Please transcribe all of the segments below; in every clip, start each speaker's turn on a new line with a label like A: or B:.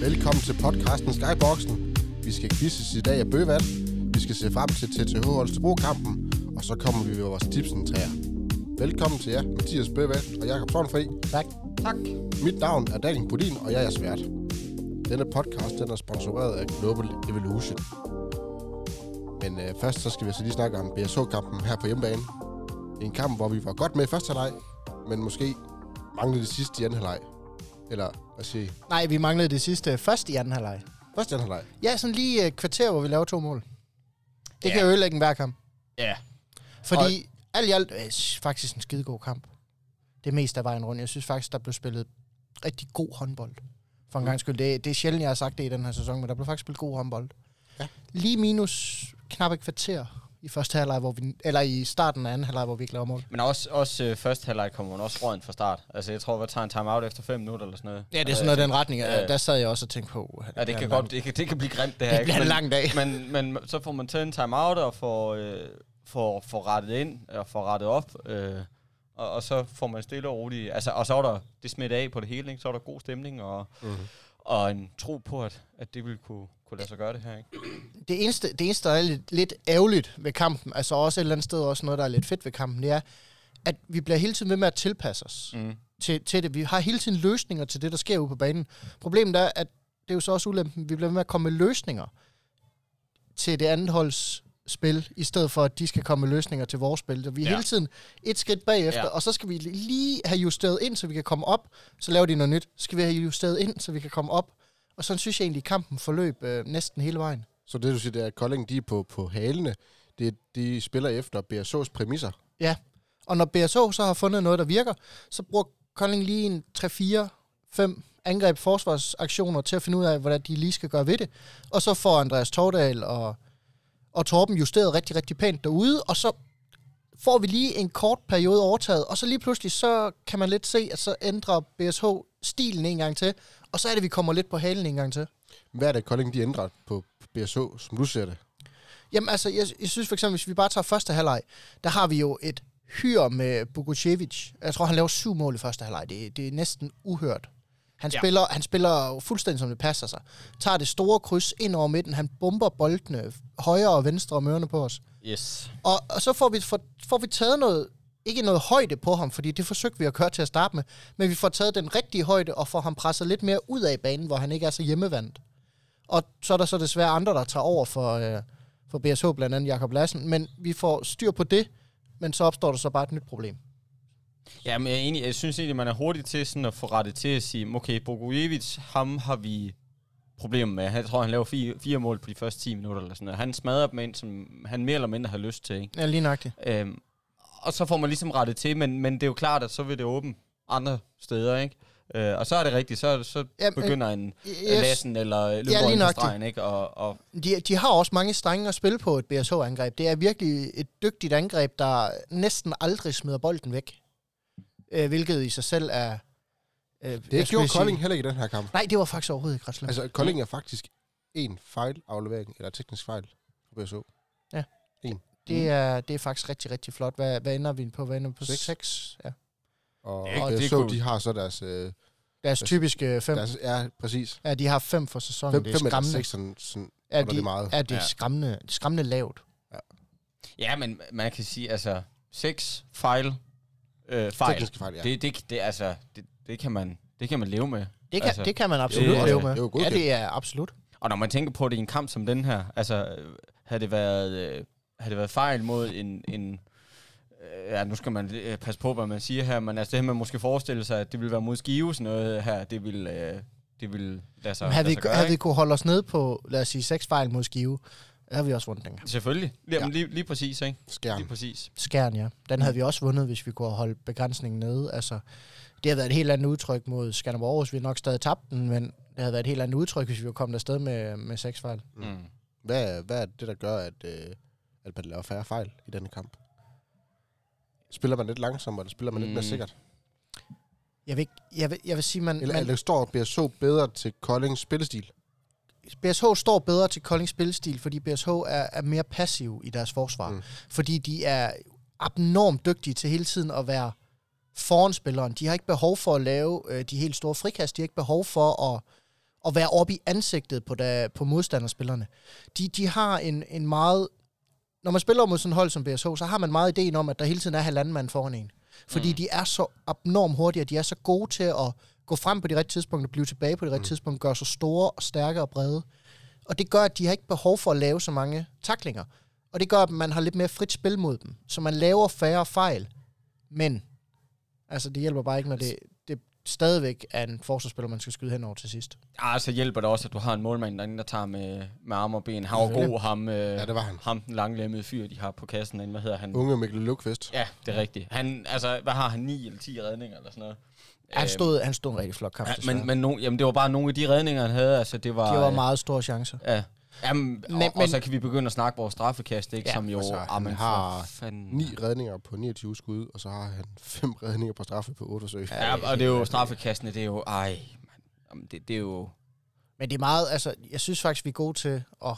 A: velkommen til podcasten Skyboxen. Vi skal quizzes i dag af Bøvand. Vi skal se frem til TTH Holstebro-kampen. Og så kommer vi med vores tipsen træer. Velkommen til jer, Mathias Bøvand og Jakob Tornfri. Tak.
B: Tak.
A: Mit navn er Daniel Budin, og jeg er svært. Denne podcast den er sponsoreret af Global Evolution. Men øh, først så skal vi så lige snakke om BSH-kampen her på hjemmebane. En kamp, hvor vi var godt med i første halvleg, men måske manglede det sidste i anden halvleg. Eller hvad siger I?
B: Nej, vi manglede det sidste først i anden halvleg.
A: Første anden halvleg.
B: Ja, sådan lige et kvarter, hvor vi laver to mål. Det
C: Ja.
B: kan ødelægge en hver kamp.
C: Ja.
B: Fordi alt i alt er faktisk en skidegod kamp. Det meste af vejen rundt. Jeg synes faktisk, der blev spillet rigtig god håndbold. For en gang skyld. Det, det er sjældent, jeg har sagt det i den her sæson, men der blev faktisk spillet god håndbold.
A: Ja.
B: Lige minus knap et kvarter i første halvleg, hvor vi, eller i starten af anden halvleg, hvor vi ikke laver mål.
C: Men også, også øh, første halvleg kommer man også råden fra start. Altså, jeg tror, vi tager en timeout efter 5 minutter eller sådan noget.
B: øh, Ja, det er sådan noget i den retning.
C: Ja, ja.
B: Der sad jeg også og tænkte på.
C: Ja, det kan godt, det kan, det kan blive grimt, det her.
B: Det bliver en lang dag.
C: Men, men, men så får man taget en timeout og får, øh, får, får rettet ind og får rettet op. Øh, og, og, så får man stille og roligt. Altså, og så er der det smidt af på det hele, ikke? Så er der god stemning og,
A: Mhm.
C: mm-hmm. og en tro på, at, at det ville kunne, kunne lade sig gøre det her, ikke?
B: det eneste, det eneste, der er lidt, lidt ærgerligt ved kampen, altså også et eller andet sted også noget, der er lidt fedt ved kampen, det er, at vi bliver hele tiden ved med at tilpasse os
C: Mm.
B: til, til det. Vi har hele tiden løsninger til det, der sker ude på banen. Problemet er, at det er jo så også ulempen, vi bliver ved med at komme med løsninger til det andet holds spil, i stedet for, at de skal komme med løsninger til vores spil. Så vi er ja.
C: Ja.
B: hele tiden et skridt bagefter, ja.
C: Ja.
B: og så skal vi lige have justeret ind, så vi kan komme op, så laver de noget nyt. Så skal vi have justeret ind, så vi kan komme op. Og sådan synes jeg egentlig, kampen forløb øh, næsten hele vejen.
A: Så det, du siger, det er, at Kolding, de er på, på halene. Det, er- de spiller efter BSH's præmisser.
B: Ja, og når BSO så har fundet noget, der virker, så bruger Kolding lige en 3-4-5 angreb forsvarsaktioner til at finde ud af, hvordan de lige skal gøre ved det. Og så får Andreas Tordal og, og Torben justeret rigtig, rigtig pænt derude, og så får vi lige en kort periode overtaget, og så lige pludselig, så kan man lidt se, at så ændrer BSH stilen en gang til, og så er det, vi kommer lidt på halen en gang til.
A: Hvad er det, Kolding, de ændrer på BSH, som du ser det?
B: Jamen altså, jeg, jeg synes for eksempel, hvis vi bare tager første halvleg, der har vi jo et hyr med Bukucevic. Jeg tror, han laver syv mål i første halvleg. Det, det er næsten uhørt. Han, ja.
C: Ja.
B: spiller, han spiller jo fuldstændig, som det passer sig. Tager det store kryds ind over midten. Han bomber boldene højre og venstre om ørerne på os.
C: Yes.
B: Og, og så får vi, får, får vi taget noget, ikke noget højde på ham, fordi det forsøgte vi at gøre til at starte med, men vi får taget den rigtige højde og får ham presset lidt mere ud af banen, hvor han ikke er så hjemmevandt. Og så er der så desværre andre, der tager over for, øh, for BSH, blandt andet Jakob Lassen, men vi får styr på det, men så opstår der så bare et nyt problem.
C: Ja, men jeg, er enig, jeg synes egentlig, man er hurtig til sådan at få rettet til at sige, okay, Bogojevic, ham har vi problemer med. Jeg tror, han laver fire, fire mål på de første 10 minutter eller sådan noget. Han smadrer dem ind, som han mere eller mindre har lyst til. Ikke?
B: Ja, lige nøjagtigt.
C: Øhm, og så får man ligesom rettet til, men, men det er jo klart, at så vil det åbne andre steder, ikke? Øh, og så er det rigtigt, så, så
B: Ja, men-
C: begynder en
B: øh, Yes.
C: yes. Lassen eller løber
B: lige
C: ind på
B: nok det.
C: stregen, ikke? Og, og
B: De, de har også mange strenge at spille på et BSH-angreb. Det er virkelig et dygtigt angreb, der næsten aldrig smider bolden væk. Øh, hvilket i sig selv er... Øh, jeg
A: Det
B: skulle
A: gjorde
B: sige-
A: Kolding heller ikke i den her kamp.
B: Nej, det var faktisk overhovedet ikke ret slemt. Altså,
A: Altså, Kolding er faktisk en fejlaflevering, eller teknisk fejl på BSH.
B: det, er, det er faktisk rigtig, rigtig flot. Hvad, hvad ender vi på? Hvad ender vi på?
A: mm. Seks.
B: 6? Ja.
A: Og,
C: Ikke?
A: og
C: Det er
A: BSH,
C: cool.
A: de har så deres... Øh,
B: Deres typiske øh, fem.
A: deres ja, præcis.
B: Ja, de har fem for sæsonen.
A: Fem,
B: det er
A: fem eller
B: skræmmende.
A: seks, sådan, sådan
B: Er
A: det
B: de,
A: meget.
B: er de
C: Ja.
B: skræmmende, skræmmende lavt?
C: ja, men man kan sige, altså, seks fejl, øh, fejl.
A: tekniske fejl, ja. Det,
C: Det, det, det, altså, det, det, kan man, det kan man leve med.
B: Det kan, altså,
C: Altså,
B: det kan man absolut
C: det er-
B: leve
A: det er jo
B: med. Ja,
A: godkendt.
B: det er absolut.
C: Og når man tænker på det i en kamp som den her, altså, øh, havde det været, øh, havde det været fejl mod en... en øh, ja, nu skal man øh, passe på, hvad man siger her, men altså det her, man måske forestille sig, at det ville være mod Skive, sådan noget her, det ville, øh, det ville lade sig,
B: Så, havde,
C: lade
B: vi,
C: sig gøre,
B: havde vi
C: altså, ikke?
B: kunne holde os nede på, lad os sige, seks fejl mod Skive, havde vi også vundet den kamp.
C: Selvfølgelig. Lige,
A: Ja.
C: ja. lige, lige præcis, ikke?
A: Skærm.
C: Lige præcis.
B: Skjern, ja. Den havde vi også vundet, hvis vi kunne holde begrænsningen nede. Altså, det har været et helt andet udtryk mod Skanderborg Aarhus. Vi har nok stadig tabt den, men det havde været et helt andet udtryk, hvis vi var kommet afsted med, med seks fejl.
C: Mm.
A: Mm. Hvad, er- hvad er det, der gør, at, øh, at man laver færre fejl i denne kamp? Spiller man lidt langsommere, eller spiller man mm. lidt mere
C: Mm.
A: sikkert?
B: Jeg vil, ikke- jeg vil, jeg vil sige, man,
A: Eller,
B: man,
A: eller står BSH bedre til Koldings spillestil?
B: BSH står bedre til Koldings spillestil, fordi BSH er, er mere passiv i deres forsvar. Mm.
A: Mm.
B: Fordi de er abnormt dygtige til hele tiden at være foran spilleren. De har ikke behov for at lave øh, de helt store frikast. De har ikke behov for at, at være oppe i ansigtet på, der, på modstanderspillerne. De, de har en, en meget... Når man spiller mod sådan et hold som BSH, så har man meget ideen om, at der hele tiden er halvanden mand foran en. Fordi mm. de er så abnormt hurtige, og de er så gode til at gå frem på de rigtige tidspunkter, blive tilbage på de rigtige mm. tidspunkter, gøre sig store og stærke og brede. Og det gør, at de har ikke behov for at lave så mange taklinger. Og det gør, at man har lidt mere frit spil mod dem. Så man laver færre fejl. Men, altså det hjælper bare ikke, når det, det stadigvæk er en forsvarsspiller, man skal skyde hen over til sidst.
C: Ah, så hjælper det også, at du har en målmand derinde, der tager med, med arme og ben. Han var god, ham, øh, ja,
A: det var han. Uh.
C: ham den langlemmede fyr, de har på kassen derinde. Hvad hedder han?
A: Unge Mikkel Lukvist.
C: Ja, det er rigtigt. Han, altså, hvad har han? 9 eller 10 redninger eller sådan noget?
B: Han
C: Øhm,
B: stod, han stod en rigtig flot kamp.
C: ja,
B: desværre.
C: men, men no, jamen, det var bare nogle af de redninger, han havde. Altså, det var,
B: de var
C: øh,
B: meget store chancer.
C: Ja. Jamen, men,
B: Men-
C: og, og,
B: men-
C: så kan vi begynde at snakke vores straffekast, ikke? Ja,
B: Ja,
C: som jo...
A: altså, han
C: ah, men for
A: har
C: fanden.
A: Ni redninger på 29 skud, og så har han fem redninger på straffe på 8 forsøg.
C: Ja, og det er jo straffekastene, det er jo... Ej, man, jamen, det, det er jo...
B: Men det er meget, altså, jeg synes faktisk, vi er gode til at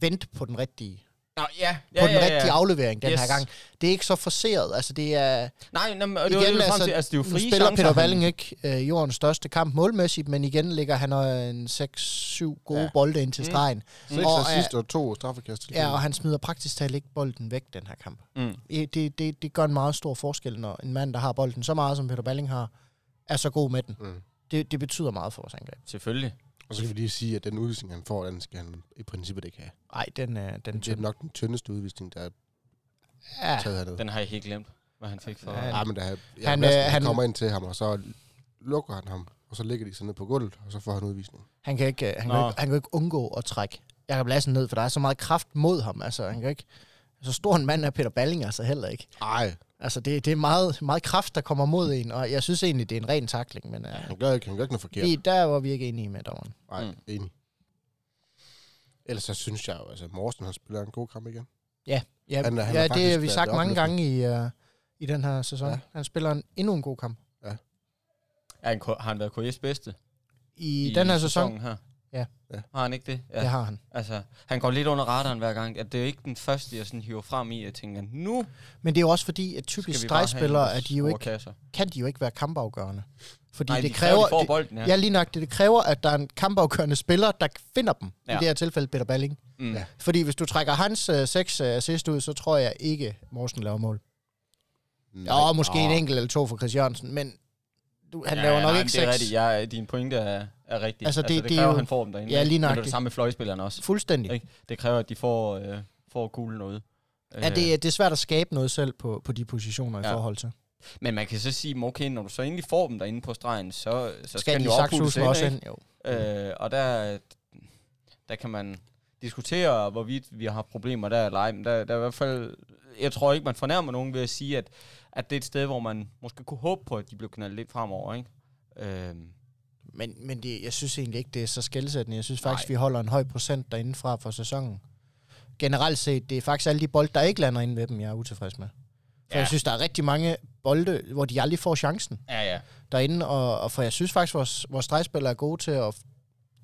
B: vente på den rigtige,
C: Nå, ja,
B: ja,
C: ja,
B: på den
C: ja, ja.
B: rigtige aflevering den yes. her
C: Yes.
B: gang. Det er ikke så forceret, altså det er...
C: Nej, nej, men, og
B: Og
C: det
B: igen,
C: igen, var det, altså,
B: altså,
C: til, altså, det er jo
B: nu
C: frie
B: spiller
C: chancer,
B: Peter
C: han-
B: Walling ikke øh, jordens største kamp målmæssigt, men igen ligger han øh, en 6-7 gode
A: Ja.
B: ja. bolde ind til
C: Mm.
B: stregen.
A: Seks
B: Og, øh,
A: og, sidst og to straffekast.
B: Ja, og han smider praktisk talt ikke bolden væk den her kamp.
C: Mm.
B: Det, det, det, det gør en meget stor forskel, når en mand, der har bolden så meget, som Peter Balling har, er så god med den.
A: Mm.
B: Det, det betyder meget for vores angreb.
C: Selvfølgelig.
A: Og så kan vi lige sige, at den udvisning, han får, den skal han i princippet ikke have.
B: Nej, den, øh, den
A: Det er nok den tyndeste udvisning, der er
B: Ja,
A: taget hernede.
C: Den har jeg helt glemt, hvad han fik for...
B: Ja,
C: Ja,
A: Ja, men da han, ja,
B: Han,
A: han, Madsen,
B: øh,
A: han
B: han-
A: kommer ind til ham, og så lukker han ham, og så ligger de sig ned på gulvet, og så får han udvisning.
B: han kan ikke, øh, han kan
C: Nå.
B: ikke, han kan ikke undgå at trække Jakob Lassen ned, for der er så meget kraft mod ham. Altså, han kan ikke, så stor en mand er Peter Balling altså heller ikke.
A: Nej,
B: Altså, det, det er meget, meget kraft, der kommer mod en, og jeg synes egentlig, det er en ren takling, men øh,
A: han gør ikke, han gør ikke noget forkert.
B: vi, der var vi ikke enige med dommeren.
A: Nej,
C: Mm.
A: mm. enig. Ellers så synes jeg jo, altså Morsen, han spiller en god kamp igen.
B: Ja,
A: Han er- han er
B: ja det
A: faktisk
B: har vi
A: været
B: sagt mange
A: opløftende.
B: gange i, øh, i den her sæson.
A: Ja.
B: Ja. Han spiller en, endnu en god kamp.
C: er han, K- har han været KS bedste
B: I, I den her sæson,
C: sæsonen her?
B: Ja.
A: Ja.
C: Har han ikke det?
B: ja. det har han.
C: Altså, han går lidt under radaren hver gang. At det er jo ikke den første, jeg sådan hiver frem i, at jeg tænker, nu
B: Men det er jo også fordi, at typisk
C: skal vi bare
B: stregspillere,
C: have
B: er de jo ikke,
C: Kasser.
B: kan de jo ikke være kampafgørende. Fordi
C: Nej,
B: det
C: de kræver, de får
B: det,
C: bolden, ja.
B: ja. lige nok det, det kræver, at der er en kampafgørende spiller, der finder dem. Ja. I
C: Ja.
B: det her tilfælde Peter Balling.
C: Mm.
A: Ja.
B: Fordi hvis du trækker hans øh, seks øh, assist ud, så tror jeg ikke, Morsen laver mål.
A: Nej.
B: Ja, måske
A: Åh,
B: en enkelt eller to for Chris Jørgensen, men du, han
C: Ja,
B: ja, laver nok
C: nej,
B: ikke
C: det
B: seks.
C: er rigtigt. Ja, din pointe er, er rigtig.
B: Altså, det-
C: det,
B: det er
C: kræver,
B: jo-
C: han får dem derinde.
B: Ja,
C: ikke?
B: lige
C: Men det er
B: nøjagtigt.
C: det samme med fløjspillerne også.
B: Fuldstændig.
C: Ikke? Det kræver, at de får, øh, får Øh, kuglen ud.
B: Ja, det, det er svært at skabe noget selv på, på de positioner
C: Ja.
B: ja. i forhold til.
C: Men man kan så sige, "Men okay, når du så endelig får dem derinde på stregen, så, så skal,
B: Skal
C: den
B: de
C: jo ophules
B: Saxus
C: ind,
B: også
C: ikke?
B: ind? Jo.
C: Øh, og der, der kan man diskutere, hvorvidt vi har problemer der eller ej, men der, der er i hvert fald, jeg tror ikke, man fornærmer nogen ved at sige, at, at det er et sted, hvor man måske kunne håbe på, at de blev knaldt lidt fremover, ikke? Øh,
B: Men, men det, jeg synes egentlig ikke, det er så skældsættende. Jeg synes faktisk,
C: Nej.
B: Nej. vi holder en høj procent derindefra for sæsonen. Generelt set, det er faktisk alle de bolde, der ikke lander inde ved dem, jeg er utilfreds med. For
C: Ja.
B: ja. jeg synes, der er rigtig mange bolde, hvor de aldrig får chancen
C: ja, ja.
B: derinde. Og, og for jeg synes faktisk, vores, vores stregspillere er gode til at, f-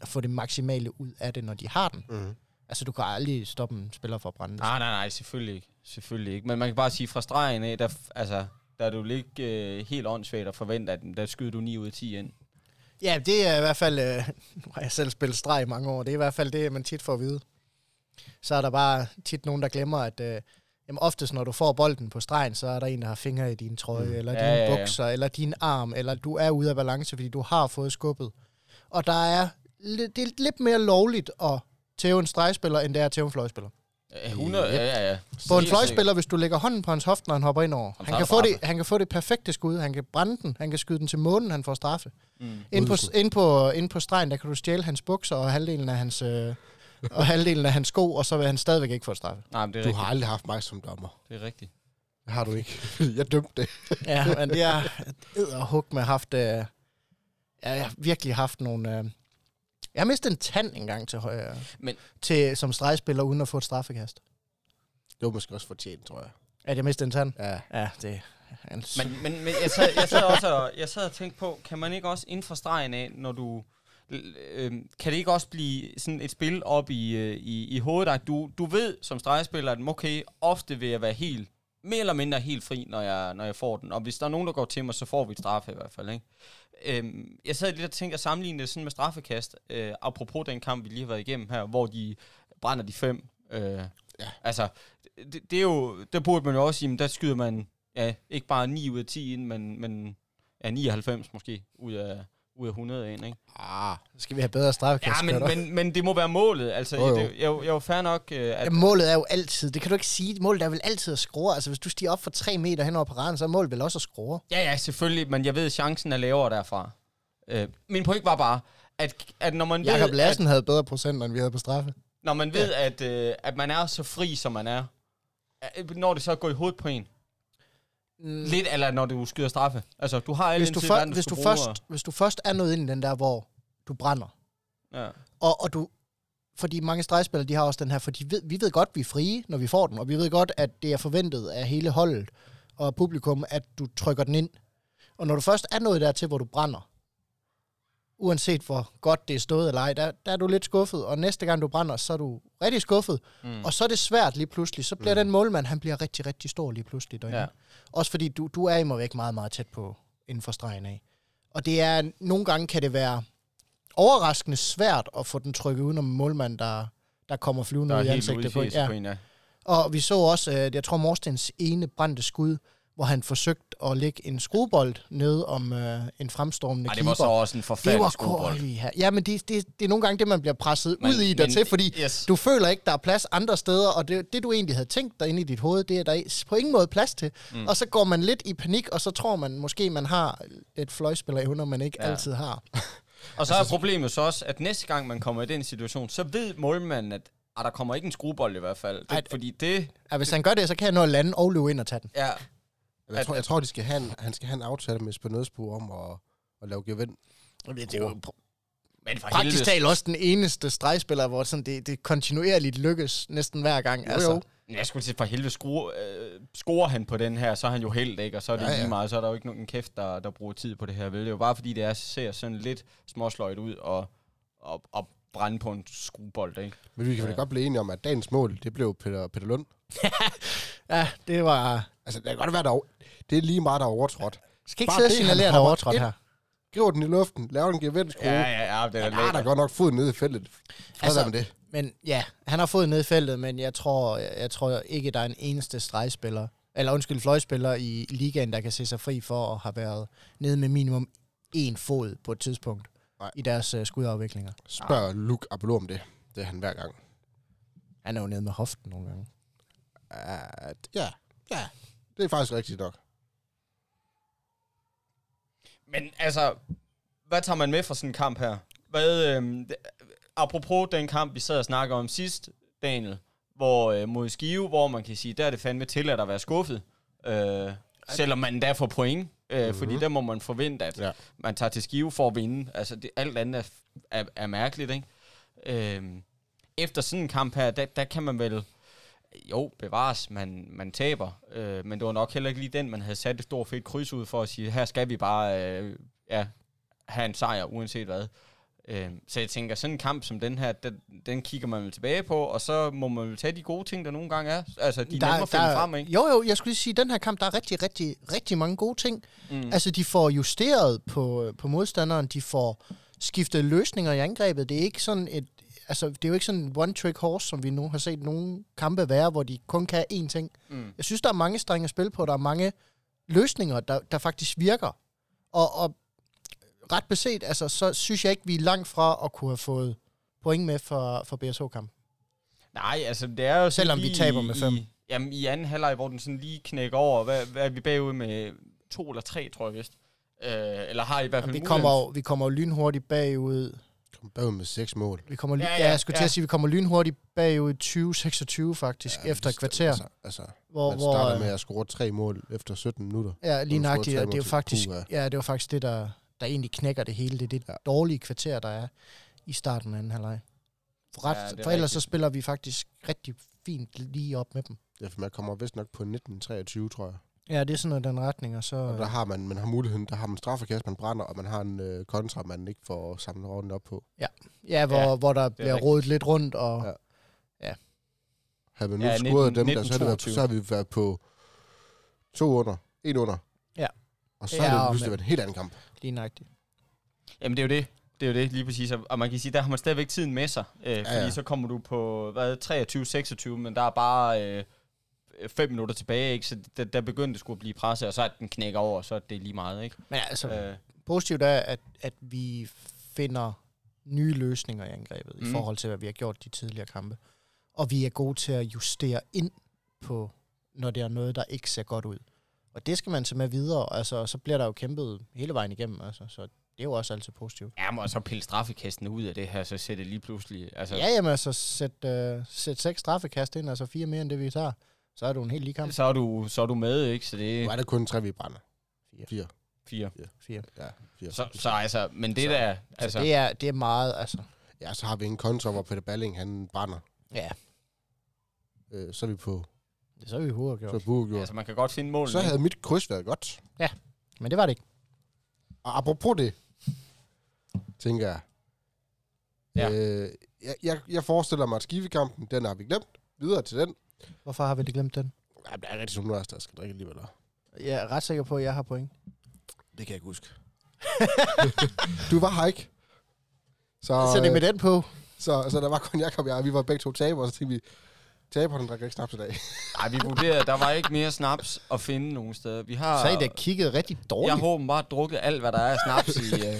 B: at få det maksimale ud af det, når de har den.
A: Mm.
B: Altså, du kan aldrig stoppe en spiller fra at brænde.
C: Nej, nej, nej, selvfølgelig ikke. Selvfølgelig ikke. Men man kan bare sige, fra stregen af, der, f- altså, der er det jo ikke øh, helt åndssvagt at forvente, at der skyder du 9 ud af 10 ind.
B: Ja, det er i hvert fald, øh, nu har jeg selv spillet streg i mange år, det er i hvert fald det, man tit får at vide. Så er der bare tit nogen, der glemmer, at øh, jamen oftest når du får bolden på stregen, så er der en, der har fingre i din trøje, mm. eller
C: Ja,
B: ja, dine
C: ja, ja.
B: bukser, eller din arm, eller du er ude af balance, fordi du har fået skubbet. Og der er, lidt- det er lidt mere lovligt at tæve en stregspiller, end det er at tæve en fløjspiller.
C: Øh, 100,
A: Yep.
C: ja, ja,
B: På
C: ja.
B: en
C: Helt sikkert.
B: fløjspiller, hvis du lægger hånden på hans hofte, når han hopper ind over, han,
C: Han tager
B: kan
C: det
B: få det,
C: straffe.
B: han kan få det perfekte skud, han kan brænde den, han kan skyde den til månen, han får straffe.
C: Mm.
B: Ind på,
A: Udvisning.
B: ind, på, ind på stregen, der kan du stjæle hans bukser og halvdelen af hans, øh, og halvdelen af hans sko, og så vil han stadigvæk ikke få et straffe.
C: Nej, men det er,
A: Du
C: rigtigt.
A: har aldrig haft mig som dommer.
C: det er rigtigt.
A: Det har du ikke. jeg dømte det.
B: Ja, men det er og hug med haft... Øh, ja, jeg har virkelig haft nogle... Øh, jeg har mistet en tand engang til højre,
C: Men-
B: men. Til, som stregspiller, uden at få et straffekast.
A: Det var måske også fortjent, tror jeg.
B: At jeg mistede en tand?
A: Ja.
B: Ja, det er en
C: Men, men, men jeg, sad, jeg sad også og, jeg sad og tænkte på, kan man ikke også inden for stregen af, når du... l- øhm, kan det ikke også blive sådan et spil op i, øh, i, i hovedet, at du, du ved som stregspiller, at okay, ofte vil jeg være helt, mere eller mindre helt fri, når jeg, når jeg får den. Og hvis der er nogen, der går til mig, så får vi et straffe i hvert fald. Ikke? øhm, jeg sad lidt og tænkte at sammenligne det sådan med straffekast, øh, apropos den kamp, vi lige har været igennem her, hvor de brænder de fem. Øh, ja. Altså, det, det er jo, der burde man jo også sige, men der skyder man ja, ikke bare 9 ud af 10 ind, men, men ja, 99 måske ud af, ud af 100 ind, ikke?
A: Ah,
B: Så skal vi have bedre straffekast.
C: Ja, men,
B: Peter.
C: men, men det må være målet. Altså,
A: Jo, jo.
C: jo, jo. Det, jeg, jeg er jo fair nok, øh, at...
B: Jamen, målet er jo altid, det kan du ikke sige, målet er vel altid at score. Altså, hvis du stiger op for 3 meter hen over paraden, så er målet vel også at score.
C: Ja, ja, selvfølgelig, men jeg ved, at chancen er lavere derfra. Øh, min point var bare, at, at når man
B: Jakob
C: ved,
B: Lassen havde bedre procenter, end vi havde på straffe.
C: At, når man ved at, øh, at man er så fri, som man er, øh, når det så går i hovedet på en.
B: Mm.
C: Lidt, eller når du skyder straffe. Altså, du har alle
B: Hvis
C: den
B: du,
C: tid i
B: for,
C: verden,
B: hvis,
C: skal
B: du
C: bruge, og-
B: først, hvis du først er nået ind i den der, hvor du brænder,
C: Ja.
B: Og, og du, fordi mange stregspillere, de har også den her, for de ved, vi ved godt, vi er frie, når vi får den, og vi ved godt, at det er forventet af hele holdet og af publikum, at du trykker den ind. Og når du først er nået dertil, hvor du brænder, uanset hvor godt det er stået eller ej, der, der er du lidt skuffet, og næste gang du brænder, så er du rigtig skuffet, mm. og så er det svært lige pludselig. Så bliver mm. den målmand, han bliver rigtig, rigtig stor lige pludselig derinde. Ja.
C: Ja.
B: Også fordi du, du er imod væk meget, meget tæt på inden for stregen af. Og det er, nogle gange kan det være overraskende svært at få den trykket udenom en målmand, der, der kommer flyvende
C: Der er
B: ud i
C: helt ude i
B: ansigtet. På,
C: fjes
B: ja.
C: på en, ja.
B: Og vi så også, øh, jeg tror, Morstens ene brændte skud, hvor han forsøgte at lægge en skruebold ned om øh, en fremstormende
C: Ej, det
B: keeper.
C: var så også en
B: det var
C: forfærdelig skruebold.
B: korrekt. Ja. ja, men det, det, det er nogle gange det, man bliver presset
C: Men-
B: ud i dertil,
C: men-
B: fordi
C: yes.
B: du føler ikke, der er plads andre steder, og det, det du egentlig havde tænkt dig inde i dit hoved, det er der på ingen måde plads til. Mm. Og så går man lidt i panik, og så tror man måske, man har et fløjspillerevner, man ikke ja.
C: Ja.
B: altid har.
C: Og så er problemet så også, at næste gang man kommer i den situation, så ved målmanden, at ah, der kommer ikke en skruebold i hvert fald. Det,
B: Ej,
C: Ej, fordi det...
B: Ja, hvis han gør det, så kan jeg nå at lande og løbe ind og tage den.
C: Ja,
A: jeg, tror, jeg tror, de skal have en, han skal have en aftale med Spinødsbo om at, at lave gevind.
B: Det er jo
C: men for
B: praktisk
C: helvede.
B: talt også den eneste stregspiller, hvor sådan det, det kontinuerligt lykkes næsten hver gang. Jo, altså,
A: jo.
C: Men Jeg skulle sige, for helvede skrue, øh, scorer han på den her, så er han jo held, ikke? Og så er det
A: Ja,
C: ja,
A: ja.
C: ja. lige meget, så er der jo ikke nogen kæft, der, der bruger tid på det her, vel? Det er jo bare fordi, det er, ser sådan lidt småsløjt ud og, og, og brænde på en skruebold, ikke?
A: Men vi kan vel
C: Ja.
A: godt blive enige om, at dagens mål, det blev Peter, Peter Lund.
B: Ja, det var...
A: Altså, det kan godt være, der er, det er lige meget, der er overtrådt.
B: Skal ikke
A: Bare
B: sidde og
A: det, han
B: signalere, der er
A: hopper
B: overtrådt
A: ind.
B: her.
A: Giver den i luften, laver en gevindskrue.
C: Ja,
A: Ja, ja.
C: ja, ja, det er
A: Der er
C: lækkert.
A: der godt nok fod nede i feltet. Fred altså,
B: Altså-
A: med det.
B: Men ja, han har fået ned i feltet, men jeg tror, jeg, jeg tror ikke, der er en eneste stregspiller, eller undskyld, fløjspiller i ligaen, der kan se sig fri for at have været nede med minimum én fod på et tidspunkt
A: Nej.
B: Nej. i deres uh, skudafviklinger.
A: Spørg Luke Abello om det. Det er han hver gang.
B: Han er jo nede med hoften nogle gange.
A: At, ja, ja. Det er faktisk rigtigt nok.
C: Men altså, hvad tager man med fra sådan en kamp her? Hvad, øhm, det- apropos den kamp, vi sad og snakkede om sidst, Daniel, hvor øh, mod Skive, hvor man kan sige, der er det fandme til at være skuffet. Øh, selvom man endda får point. Øh, mm-hmm. Fordi der må man forvente, at
A: Ja.
C: ja. man tager til Skive for at vinde. Altså, det, alt andet er, f- er, er mærkeligt, ikke? Øh, efter sådan en kamp her, der, der kan man vel... Jo, bevares, man, man taber. Øh, men det var nok heller ikke lige den, man havde sat et stort fedt kryds ud for at sige, her skal vi bare øh, ja, have en sejr, uanset hvad. Øh, så jeg tænker, sådan en kamp som den her, den, den kigger man vel tilbage på, og så må man vel tage de gode ting, der nogle gange er. Altså, de er nemme at finde frem, ikke?
B: Jo, jo, jeg skulle lige sige, at den her kamp, der er rigtig, rigtig, rigtig mange gode ting. Mm. Altså, de får justeret på, på modstanderen, de får skiftet løsninger i angrebet. Det er ikke sådan et, altså, det er jo ikke sådan en one-trick horse, som vi nu har set nogle kampe være, hvor de kun kan én ting. Mm. Jeg synes, der er mange strenge at spille på, der er mange løsninger, der, der faktisk virker. Og, og ret beset, altså, så synes jeg ikke, vi er langt fra at kunne have fået point med for, for BSH-kampen.
C: Nej, altså det er jo sådan
B: Selvom vi
C: lige
B: taber
C: i-
B: med fem.
C: I, jamen i anden halvleg, hvor den sådan lige knækker over. Hvad, hvad er vi bagud med? To eller tre, tror jeg vist. Øh, eller har i hvert fald
B: Vi
C: muligheden.
B: kommer, jo, vi kommer jo lynhurtigt bagud.
A: Kom bagud med seks mål.
B: Vi kommer, ja,
C: Ja,
B: ja,
C: ja,
B: jeg skulle til
C: ja.
B: at sige, vi kommer lynhurtigt bagud 20-26 faktisk, ja, efter et
A: det-
B: kvarter,
A: Altså, altså
B: hvor,
A: man
B: hvor
A: starter
B: øh,
A: med at score tre mål efter 17 minutter.
B: ja, lige
A: du scorer
B: nøjagtigt,
A: tre
B: og det er jo
A: mål til
B: faktisk,
A: Cuba.
B: ja, det var faktisk det, der, der egentlig knækker det hele. Det er det
A: Ja.
B: ja. dårlige kvarter, der er i starten af anden halvleg. For, ret,
C: Ja, det
B: ja,
C: er
B: for ellers så
C: rigtigt.
B: spiller vi faktisk rigtig fint lige op med dem.
A: Ja, for man kommer vist nok på 19-23, tror jeg.
B: Ja, det er sådan noget i den retning, og så...
A: Og der
B: øh,
A: har man, man har muligheden, der har man straffekast, man brænder, og man har en øh, kontra, man ikke får samlet ordentligt op på.
B: Ja, hvor, ja,
C: Ja,
B: hvor der bliver
C: rigtigt.
B: rodet lidt rundt, og...
A: Ja.
B: Ja.
A: Havde man nu ja,
C: Ja,
A: scoret
C: 19-
A: dem der, så havde, det været,
C: 19-22.
A: så havde vi været på to under, en under.
B: Ja.
A: Og så havde
B: Ja,
A: det
B: og
A: pludselig
B: med-
A: været en helt anden kamp.
B: Lige nøjagtigt.
C: Jamen, det er jo det. Det er jo det, lige præcis. Og- Og man kan sige, der har man stadigvæk tiden med sig. Øh, fordi
A: ja.
C: ja. så kommer du på hvad, 23-26, men der er bare øh, fem minutter tilbage, ikke? Så der, der begyndte det skulle at blive presset, og så er den knækker over, og så er det lige meget, ikke?
B: Men altså, øh.
C: Øh,
B: positivt er, at, at vi finder nye løsninger i angrebet mm.
C: Mm.
B: i forhold til, hvad vi har gjort de tidligere kampe. Og vi er gode til at justere ind på, når det er noget, der ikke ser godt ud. Og det skal man tage med videre, altså, og så bliver der jo kæmpet hele vejen igennem. Altså, så det er jo også altid positivt.
C: ja, men og så pille straffekastene ud af det her, så ser det lige pludselig... Altså,
B: Ja, jamen altså, sæt, øh, sæt seks straffekast ind, altså fire mere end det, vi tager. Så er du en helt lige kamp.
C: så, er du, så er du med, ikke? Så det
A: Nu
C: er
A: er der kun tre, vi brænder.
B: Fire.
A: Fire.
C: fire.
B: Fire.
A: Ja, fire.
C: Så, så altså, men det der...
B: Altså,
C: Altså,
B: det, er, det er meget, altså.
A: Ja, så har vi en kontra, hvor Peter Balling, han brænder.
B: Ja,
A: Øh, så er vi på
B: det er så vi hovedet gjort.
A: så er Buch gjort.
C: altså, man kan godt finde målene,
A: Så havde mit kryds været godt.
B: Men det var det ikke.
A: Og apropos det, tænker jeg.
C: Ja.
A: Øh, jeg, jeg, jeg forestiller mig, at skivekampen, den har vi glemt. Videre til den.
B: Hvorfor har vi det glemt den?
A: Ja, der er rigtig som nu der skal drikke alligevel. og
B: Jeg er ret sikker på, at jeg har point.
A: Det kan jeg ikke huske. du var her ikke. Så,
B: Så det er med den på.
A: så, så der var kun Jacob og jeg, og vi var begge to tabere, og så tænkte vi, taberen drikker ikke snaps i dag.
C: Ej, vi vurderede, der var ikke mere snaps at finde nogen steder. Vi har...
B: Så I da kigget rigtig
C: Jeg
B: dårligt.
C: har åbenbart drukket alt, hvad der er af snaps i, øh,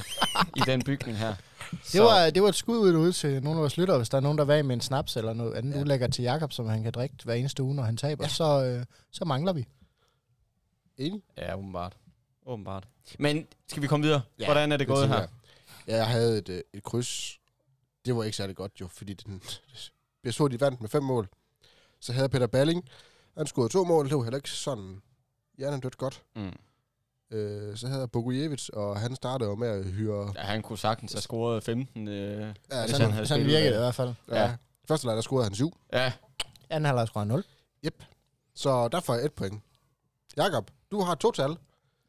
C: i den bygning her.
B: det, var, det var et skud ud, ud til nogle af vores lyttere. Hvis der er nogen, der var med en snaps eller noget andet, ja. du lægger til Jakob, som han kan drikke hver eneste uge, når han taber, ja. så, øh, så mangler vi.
A: Enig?
C: Ja, åbenbart. Åbenbart. Men skal vi komme videre? Ja, Hvordan er det gået
A: tænker
C: her?
A: jeg. Ja, jeg havde et, øh, et kryds. Det var ikke særlig godt jo, fordi den, jeg så, de vandt med fem mål. Så havde Peter Balling, han scorede to mål, det var heller ikke sådan hjernedødt godt.
C: Mm.
A: Øh, så havde jeg Bogujevits, og han startede jo med at hyre...
C: Ja, han kunne sagtens have scoret 15. Øh,
A: Ja,
C: Hvis
A: det,
C: han
B: Sådan, sådan
C: havde spillet
B: virkede det
C: med.
B: i hvert fald.
A: ja. ja. Første leg, der scorede han syv.
C: ja,
B: Anden halvleg skruer 0.
A: Så der får jeg et point. Jakob, du har to tal,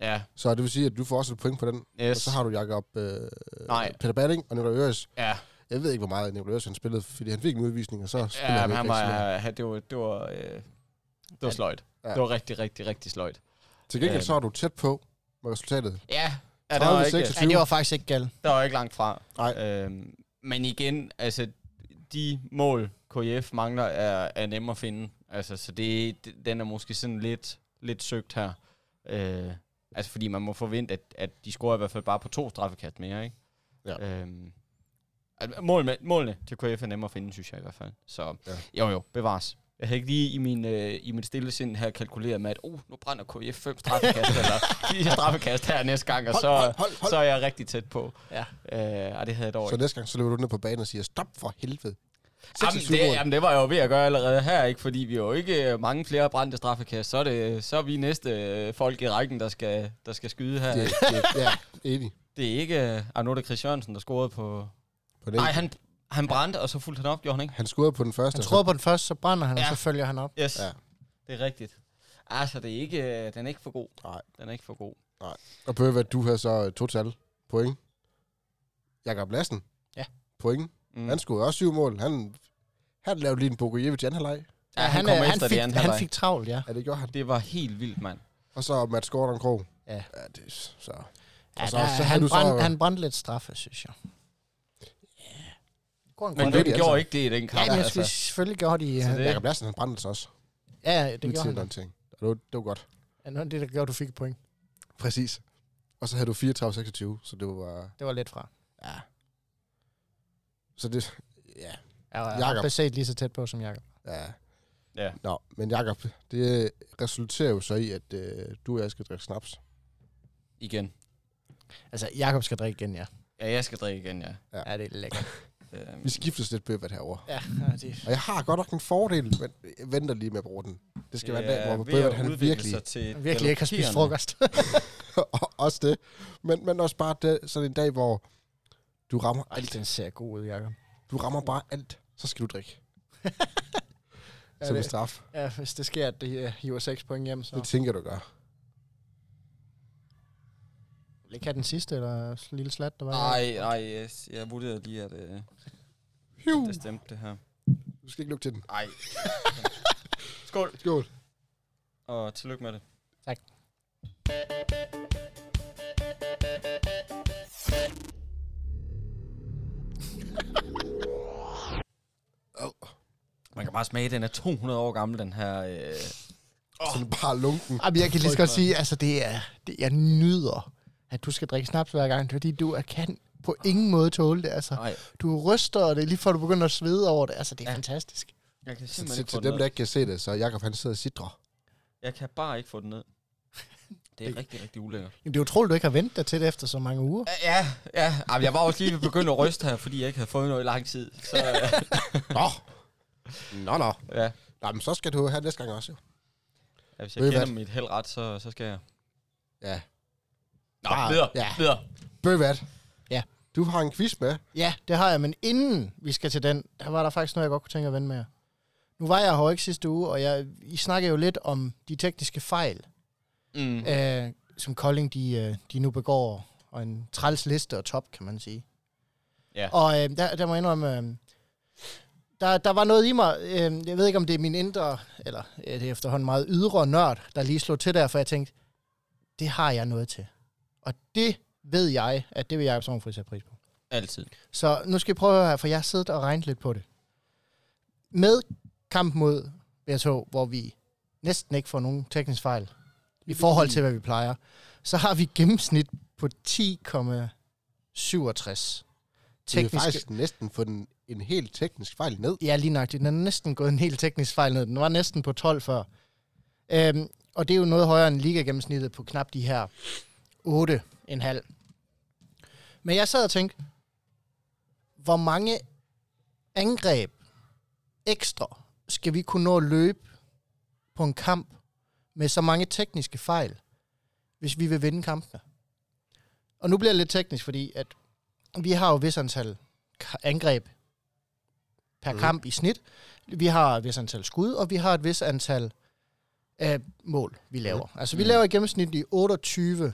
C: ja,
A: så det vil sige, at du får også et point på den. Og
C: yes.
A: så har du Jakob, øh,
C: Nej.
A: Peter Balling og Nicolai Øres.
C: ja,
A: Jeg ved ikke, hvor meget Nicolai Øres han spillede, fordi han fik en udvisning, og så spillede
C: ja
A: han,
C: men han
A: ikke rigtig mere.
C: var, han- det var, det var, øh, det var
B: Ja.
C: sløjt.
A: Ja.
C: Ja. Det var rigtig, rigtig, rigtig sløjt.
A: Til gengæld
C: Øhm.
A: så er du tæt på med resultatet.
C: Ja, ja der, var
A: 30,
C: ikke,
A: 26.
B: Ja, det var faktisk ikke galt.
C: der var ikke langt fra.
A: Nej.
C: Øhm, men igen, altså, de mål, KF mangler, er, er nemme at finde. Altså, så det, det- den er måske sådan lidt, lidt søgt her. Øh, altså, fordi man må forvente, at, at de scorer i hvert fald bare på to straffekast mere, ikke?
A: Ja.
C: Øhm, altså, mål med, målene til KF er nemme at finde, synes jeg i hvert fald. Så
A: Ja.
C: ja. jo, jo, bevares. Jeg havde ikke lige i min, øh, i min stille sind her kalkuleret med, at oh, nu brænder KF fem straffekast, eller fire straffekast her næste gang, og
A: Hold,
C: så,
A: hold, hold, hold.
C: så er jeg rigtig tæt på.
B: Ja.
C: Øh, og det havde jeg dog
A: Så
C: ikke.
A: næste gang, så løber du ned på banen og siger, stop for helvede.
C: Jamen
A: 26
C: det,
A: mål.
C: jamen, det var jeg jo ved at gøre allerede her, ikke? fordi vi er jo ikke øh, mange flere brændte straffekast. Så er, det, så er vi næste øh, folk i rækken, der skal, der skal skyde her.
A: det,
C: Det,
A: det, ja, enig.
C: det er ikke øh, Arnoldo Chris Jørgensen, der scorede på...
A: På den
C: Nej,
A: han...
C: han, han brændte, og så fulgte han op, gjorde han ikke?
A: han scorede på den første.
B: Han
A: og så-
B: tror på den første, så brænder han, ja. og
C: Ja.
B: så følger han op.
C: Yes,
A: Ja.
C: ja. det er rigtigt. Altså, det er ikke, øh, den er ikke for god.
A: Nej.
C: Den er ikke for god.
A: Og Bøve, du havde så øh, total point. Jakob Lassen.
B: Ja.
A: Point.
C: Mm.
A: Han scorede også syv mål. Han, han lavede lige en Bogojevic i anden halvleg.
C: ja, han, han kom
B: øh,
C: efter
B: han,
C: det
B: fik,
C: i anden
B: han
C: halvleg.
B: fik travlt, ja.
A: Ja, det gjorde han.
C: Det var helt vildt, mand.
A: Og så Mads Gordon Krog.
B: Ja.
A: ja det, så.
B: ja
A: Og så-
B: der,
A: så havde
B: Altså, han,
A: du så-
B: brændte, han brændte lidt straffe, synes jeg. Går en
C: Men
B: grund.
A: det er
C: hvem
A: de alle
C: gjorde ikke det i den
B: Ja,
C: kamp?
B: men jeg skulle
C: altså.
B: selvfølgelig gøre det. i-
C: Så det-
B: Ja,
A: Jakob Lassen, han brændte sig også.
B: ja, det
A: Lige
B: gjorde
A: til
B: han. da.
A: den ting. Og det var, det var godt.
B: Ja, noget af det, der gjorde, du fik et point.
A: Præcis. Og så havde du 34-26, så det var...
B: Det var lidt fra.
A: Ja. Så det... Ja.
B: Jeg
A: Jakob.
B: har aldrig set lige så tæt på som Jakob.
A: ja.
C: Ja.
A: Nå, men Jakob, det resulterer jo så i, at øh, du og jeg skal drikke snaps.
C: Igen.
B: Altså, Jakob skal drikke igen, ja.
C: Ja, jeg skal drikke igen, ja.
A: Ja.
B: Ja, det er lækkert.
C: Øhm,
A: Vi skiftes lidt bøvet herover.
B: ja, det
A: Og jeg har godt nok en fordel, men jeg venter lige med at bruge den. Det skal være en dag, hvor
C: ved at
A: bøvet han
C: udvikle
A: virkelig...
C: sig til
B: er virkelig ikke har spist
C: galopperende.
B: frokost.
A: og også det. Men, men også bare det, sådan en dag, hvor du rammer
B: Ej,
A: alt.
B: den ser god ud, Jakob.
A: Du rammer bare alt. Så skal du drikke.
B: Ja,
A: Som en
B: det-
A: straf.
B: Ja, hvis det sker, at det øh, hiver 6 point hjem, så
A: Det tænker jeg, du gør.
B: vil ikke have den sidste, eller s- lille slat, der var.
C: Nej, nej, yes. jeg vurderede lige, at, øh, at
A: Hiu.
C: det stemte det her.
A: Du skal ikke lukke til den.
C: Ej. Skål,
A: Skål.
C: og tillykke med det.
B: Tak.
C: Man kan bare smage, den er 200 år gammel, den her... Øh,
A: Sådan bare lunken.
B: Jamen, jeg kan lige så godt sige, altså det er, det, jeg nyder, at du skal drikke snaps hver gang, fordi du er, kan på ingen måde tåle det. Altså,
C: nej,
B: du ryster det, lige før du begynder at svede over det. Altså, det er
C: Ja.
B: ja. fantastisk.
C: jeg kan
A: Så
C: simpelthen
A: til,
C: ikke
A: til
C: få den
A: dem, der
C: ned.
A: ikke kan se det, så Jakob han sidder og sidder.
C: Jeg kan bare ikke få den ned. Det er rigtig, rigtig ulækkert.
B: Jamen, det er utroligt, du ikke har ventet dig til det efter så mange uger.
C: Ja, ja. Jamen, jeg var også lige begyndt at ryste her, fordi jeg ikke havde fået noget i lang tid. Så, øh,
A: Nå! Nå, nå.
C: ja.
A: Nå, men så skal du have næste gang også, jo.
C: Ja, hvis
A: Ved
C: jeg
A: I
C: kender
A: hvad?
C: mit held ret, så, så skal jeg...
A: Ja.
C: Nå,
A: Bare-
C: videre,
A: ja.
C: videre.
A: Ved I hvad?
B: Ja.
A: Du har en quiz med.
B: Ja, det har jeg, men inden vi skal til den, der var der faktisk noget, jeg godt kunne tænke at vende med jer. Nu var jeg her jo ikke sidste uge, og jeg, I snakkede jo lidt om de tekniske fejl,
C: Mm.
B: mm. øh, som Kolding de, øh, de nu begår, og en træls liste og top, kan man sige.
C: Ja.
B: Og øh, der, der må jeg indrømme, øh, der, der var noget i mig, øh, jeg ved ikke om det er min indre, eller øh, det er efterhånden meget ydre nørd, der lige slog til der, for jeg tænkte, det har jeg noget til. Og det ved jeg, at det vil Jacob Sovnfri sætte pris på.
C: Altid.
B: Så nu skal I prøve at høre her, for jeg har siddet og regnet lidt på det. Med kampen mod BSH, hvor vi næsten ikke får nogen teknisk fejl i forhold til, hvad vi plejer, så har vi gennemsnit på 10,67
A: Du har
B: tekniske
A: faktisk næsten fået en, en helt teknisk fejl ned.
B: Ja, lige nøjagtigt. Den er næsten gået en helt teknisk fejl ned. Den var næsten på 12 før. Øhm, og det er jo noget højere end ligagennemsnittet på knap de her 8,5. Men jeg sad og tænkte, hvor mange angreb ekstra skal vi kunne nå at løbe på en kamp med så mange tekniske fejl, hvis vi vil vinde kampene? Og nu bliver det lidt teknisk, fordi at vi har jo vis antal ka- angreb per
A: Mhm.
B: mm. kamp i snit. Vi har et vis antal skud, og vi har et vis antal øh, mål, vi laver. Altså, vi
C: Mm.
B: laver i gennemsnit i 28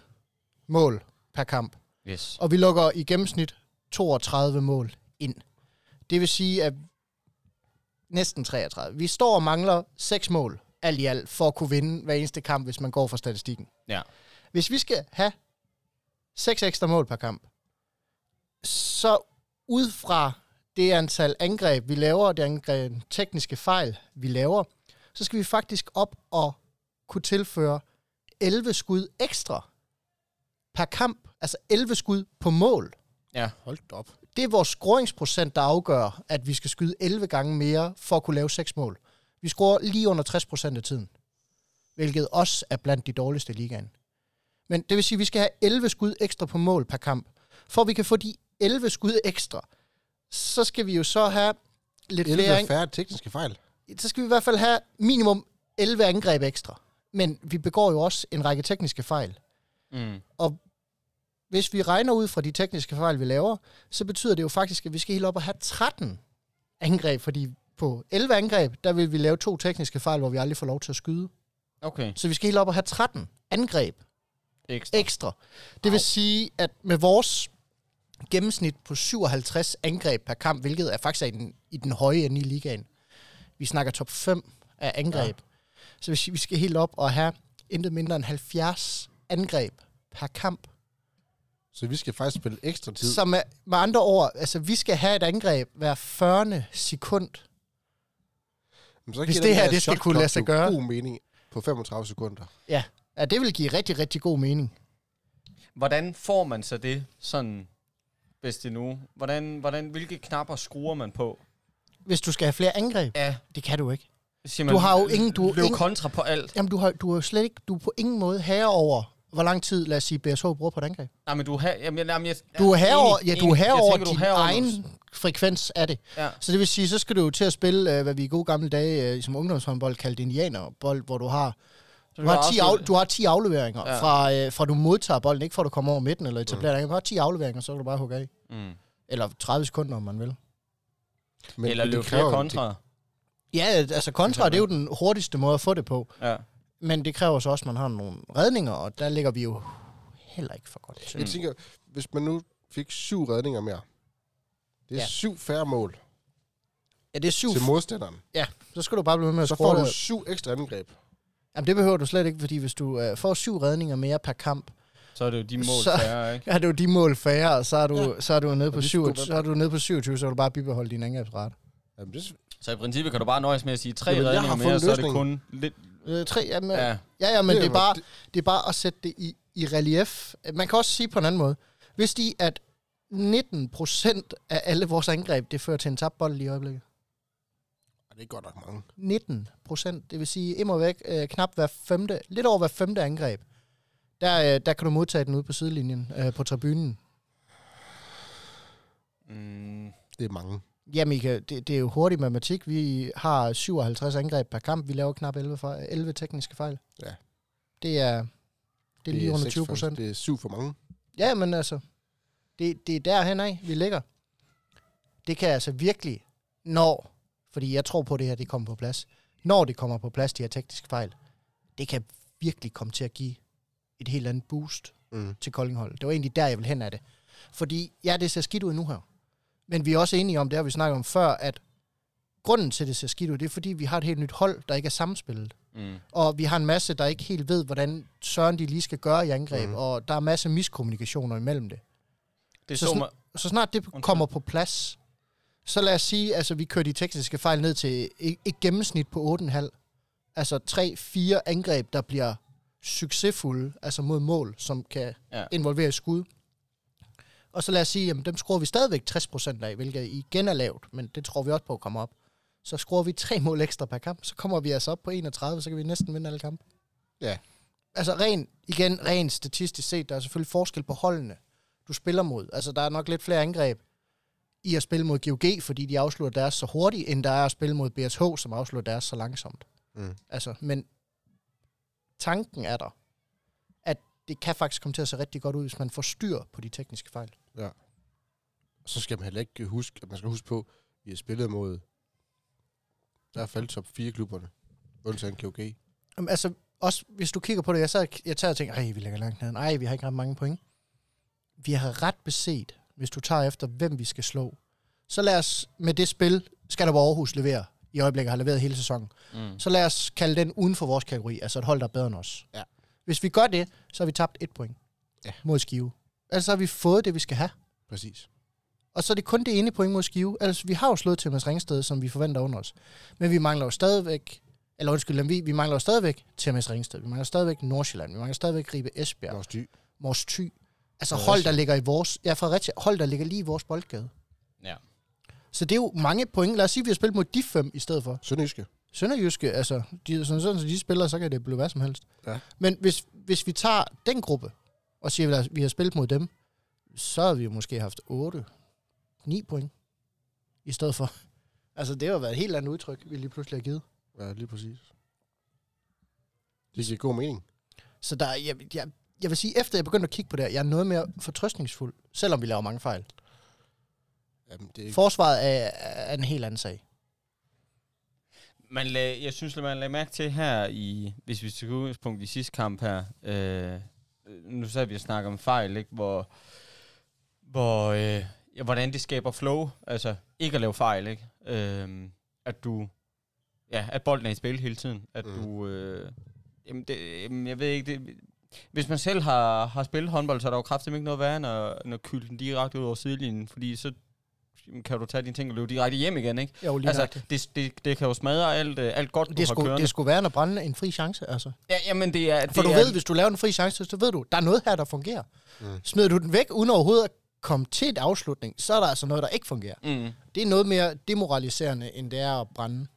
B: mål per kamp,
C: Yes.
B: og vi lukker i gennemsnit 32 mål ind. Det vil sige, at næsten 33. Vi står og mangler 6 mål alt i alt for at kunne vinde hver eneste kamp, hvis man går for statistikken.
C: Ja.
B: Hvis vi skal have 6 ekstra mål per kamp, så ud fra det antal angreb, vi laver, og det angreb, tekniske fejl, vi laver, så skal vi faktisk op og kunne tilføre 11 skud ekstra per kamp. Altså 11 skud på mål.
C: Ja.
A: Hold da op.
B: Det er vores scoringsprocent, der afgør, at vi skal skyde 11 gange mere for at kunne lave 6 mål. Vi scorer lige under 60 procent af tiden, hvilket også er blandt de dårligste i ligaen. Men det vil sige, at vi skal have 11 skud ekstra på mål per kamp. For at vi kan få de 11 skud ekstra, så skal vi jo så have lidt
A: 11
B: flere...
A: færre tekniske fejl.
B: så skal vi i hvert fald have minimum 11 angreb ekstra. Men vi begår jo også en række tekniske fejl.
C: Mm.
B: Hvis vi regner ud fra de tekniske fejl, vi laver, så betyder det jo faktisk, at vi skal helt op og have 13 angreb, fordi på 11 angreb, der vil vi lave to tekniske fejl, hvor vi aldrig får lov til at skyde.
C: Okay.
B: Så vi skal helt op og have 13 angreb
C: Ekstra.
B: ekstra. Det vil sige, at med vores gennemsnit på 57 angreb per kamp, hvilket er faktisk er i den, i den høje ende i ligaen. Vi snakker top 5 af angreb. Ja. Så hvis vi skal helt op og have intet mindre end 70 angreb per kamp,
A: Så vi skal faktisk spille ekstra tid.
B: så med, med andre ord, altså vi skal have et angreb hver 40. sekund.
A: Men så
B: hvis
A: giver
B: det
A: den
B: her,
A: der
B: det skal
A: shot
B: kunne
A: clock
B: lade sig
A: jo
B: gøre.
A: god mening på 35 sekunder.
B: Ja. ja, det vil give rigtig, rigtig god mening.
C: Hvordan får man så det sådan bedst endnu? Hvordan, hvordan, hvilke knapper skruer man på?
B: Hvis du skal have flere angreb,
C: Ja.
B: det kan du ikke.
C: Siger
B: Du har jo ingen- du-
C: løb
B: ingen-
C: kontra på alt.
B: Jamen, du, har, du er jo slet ikke, du er på ingen måde herre over, hvor lang tid, lad os sige, BSH bruger på et angreb.
C: Nej, men du har... Jamen, jamen, jeg,
B: Du er
C: enig,
B: herover, ja, du er
C: enig.
B: herover
C: Jeg tænker, du er
B: din
C: herover
B: egen
C: noget.
B: frekvens af det.
C: Ja.
B: Så det vil sige, så skal du jo til at spille, øh, hvad vi i gode gamle dage øh, som ungdomshåndbold kaldte indianerbold, hvor du har,
C: Så
B: du har, 10,
C: afslutte.
B: af, du har 10 afleveringer
C: Ja.
B: ja. fra, øh, fra du modtager bolden, ikke fra du kommer over midten eller etablerer mm. Du har 10 afleveringer, så kan du bare hugge af.
C: Mm.
B: Eller 30 sekunder, om man vil.
A: Men
C: Eller
A: det kræver
C: løb flere
A: jo en
C: kontra.
B: Ja, altså kontra, det er jo den hurtigste måde at få det på.
C: Ja.
B: Men det kræver så også, at man har nogle redninger, og der ligger vi jo heller ikke for godt til.
A: Jeg tænker, hvis man nu fik syv redninger mere, det er
B: Ja.
A: syv færre mål
B: Ja, det er syv.
A: til modstanderen.
B: Ja, så skal du bare blive ved med at
A: Så får
B: score.
A: du
B: det.
A: syv ekstra angreb.
B: Jamen, det behøver du slet ikke, fordi hvis du øh, får syv redninger mere per kamp, så,
C: så er det jo de mål
B: Så-
C: færre, ikke?
B: Ja, det er jo de mål færre, og så er du, ja. så er du nede på
A: vi skulle
B: 27,
A: være-
B: så er du nede på 27, så vil du bare bibeholde din angrebsrate.
A: Jamen, det,
C: Så i princippet kan du bare nøjes med at sige tre
A: Jamen, jeg har
C: redninger
A: fundet
C: mere, så er det
A: løsningen.
C: kun lidt...
B: Øh, tre, jamen, ja.
C: Ja,
B: ja, ja,
A: Det
B: men det,
A: er
B: det, er
A: jo-
B: bare, det er bare at sætte det i, i relief. Man kan også sige på en anden måde. Hvis de, at 19 procent af alle vores angreb, det fører til en tabt bold lige i øjeblikket.
A: Ej, det er godt nok mange.
B: 19 procent, det vil sige immer væk øh, knap hver femte, lidt over hver femte angreb. Der, øh, der kan du modtage den ude på sidelinjen, øh, på tribunen.
C: mm,
A: Det er mange.
B: Ja, Mika, det, det er jo hurtig matematik. Vi har 57 angreb per kamp. Vi laver knap 11, fejl, 11 tekniske fejl.
A: Ja.
B: Det er, det er lige under
A: seks
B: 20
A: for-
B: procent.
A: Det er syv for mange.
B: Ja, men altså, det, det er derhen af, vi ligger. Det kan altså virkelig, når, fordi jeg tror på det her, det kommer på plads. Når det kommer på plads, de her tekniske fejl, det kan virkelig komme til at give et helt andet boost
A: Mm.
B: til Koldingholdet. Det var egentlig der, jeg ville hen af det. Fordi, ja, det ser skidt ud nu her. Men vi er også enige om, det har vi snakket om før, at grunden til, at det ser skidt ud, det er, fordi vi har et helt nyt hold, der ikke er samspillet.
C: mm.
B: Og vi har en masse, der ikke helt ved, hvordan Søren de lige skal gøre i angreb,
A: Mhm.
B: mm. og der er masse miskommunikationer imellem det.
C: Det
B: Så
C: så,
B: sådan-
C: mig,
B: Så snart det kommer på plads, så lad os sige, altså vi kører de tekniske fejl ned til et, et gennemsnit på 8,5. Altså 3-4 angreb, der bliver succesfulde, altså mod mål, som kan
C: Ja.
B: ja. involvere skud. Og så lad os sige, at dem skruer vi stadigvæk 60% af, hvilket igen er lavt, men det tror vi også på at komme op. Så skruer vi tre mål ekstra per kamp, så kommer vi altså op på 31, så kan vi næsten vinde alle kampe.
A: Ja.
B: Altså ren, igen, rent statistisk set, der er selvfølgelig forskel på holdene, du spiller mod. Altså der er nok lidt flere angreb i at spille mod GOG, fordi de afslutter deres så hurtigt, end der er at spille mod BSH, som afslutter deres så langsomt.
A: Mm.
B: Altså, men tanken er der, at det kan faktisk komme til at se rigtig godt ud, hvis man får styr på de tekniske fejl.
A: Så skal man heller ikke huske, at man skal huske på, at vi har spillet mod i hvert fald top 4 klubberne. Undtagen KG.
B: Jamen, altså, også hvis du kigger på det, jeg, sad, jeg tager og tænker, ej, vi ligger langt ned. Nej, vi har ikke ret mange point. Vi har ret beset, hvis du tager efter, hvem vi skal slå. Så lad os med det spil, Skanderborg Aarhus leverer, i øjeblikket har leveret hele sæsonen.
C: mm.
B: Så lad os kalde den uden for vores kategori, altså et hold, der er bedre end os.
A: Ja.
B: Hvis vi gør det, så har vi tabt et point
A: Ja.
B: mod Skive. Altså har vi fået det, vi skal have.
A: Præcis.
B: Og så er det kun det ene point mod Skive. Altså, vi har jo slået Thomas Ringsted, som vi forventer under os. Men vi mangler jo stadigvæk... Eller undskyld, Lemvi, vi mangler jo stadigvæk Thomas Ringsted. Vi mangler stadigvæk Nordsjælland. Vi mangler stadigvæk Ribe
A: Ja.
B: Esbjerg.
A: Vores dy.
B: Mors Thy. Altså
A: Fredericia.
B: hold, der ligger i vores... Ja, Fredericia. Hold, der ligger lige i vores boldgade.
C: Ja.
B: Så det er jo mange point. Lad os sige, at vi har spillet mod de fem i stedet for.
A: Sønderjyske.
B: Sønderjyske, altså, de, sådan, sådan, som de spiller, så kan det blive hvad som helst.
A: Ja.
B: Men hvis, hvis vi tager den gruppe, og siger, at vi har spillet mod dem, så har vi jo måske haft 8, 9 point, i stedet for. Altså, det har jo været et helt andet udtryk, vi lige pludselig har givet.
A: Ja, lige præcis. Det giver god mening.
B: Så der, jeg, jeg, jeg vil sige, efter jeg begyndte at kigge på det her, jeg er noget mere fortrøstningsfuld, selvom vi laver mange fejl.
A: Jamen, det er
B: Forsvaret er, er en helt anden sag.
C: Man lag, jeg synes, at man lagde mærke til her, i, hvis vi skal udgangspunkt i sidste kamp her, øh, nu sad vi og snakkede om fejl, ikke? hvor, hvor øh, ja, hvordan det skaber flow, altså ikke at lave fejl, ikke? Øh, at du, ja, at bolden er i spil hele tiden, at
A: Mm.
C: mm. du, øh, jamen, det, jamen, jeg ved ikke, det, hvis man selv har, har spillet håndbold, så er der jo kraftigt ikke noget værre, end at, end at kylde den direkte ud over sidelinjen, fordi så jamen, kan du tage dine ting og løbe direkte hjem igen, ikke?
B: Jo, lige altså,
C: Altså, det, det, det kan jo smadre alt, øh, alt godt, du
B: det,
C: har
B: skulle,
C: kørende.
B: det skulle være at brænde en fri chance, altså.
C: Ja, jamen, det er...
B: For
C: det
B: du
C: er,
B: ved, hvis du laver en fri chance, så ved du, der er noget her, der fungerer.
A: Mm.
B: Mm. Smider du den væk, uden overhovedet at komme til et afslutning, så er der altså noget, der ikke fungerer.
C: Mm.
B: Det er noget mere demoraliserende, end det er at brænde.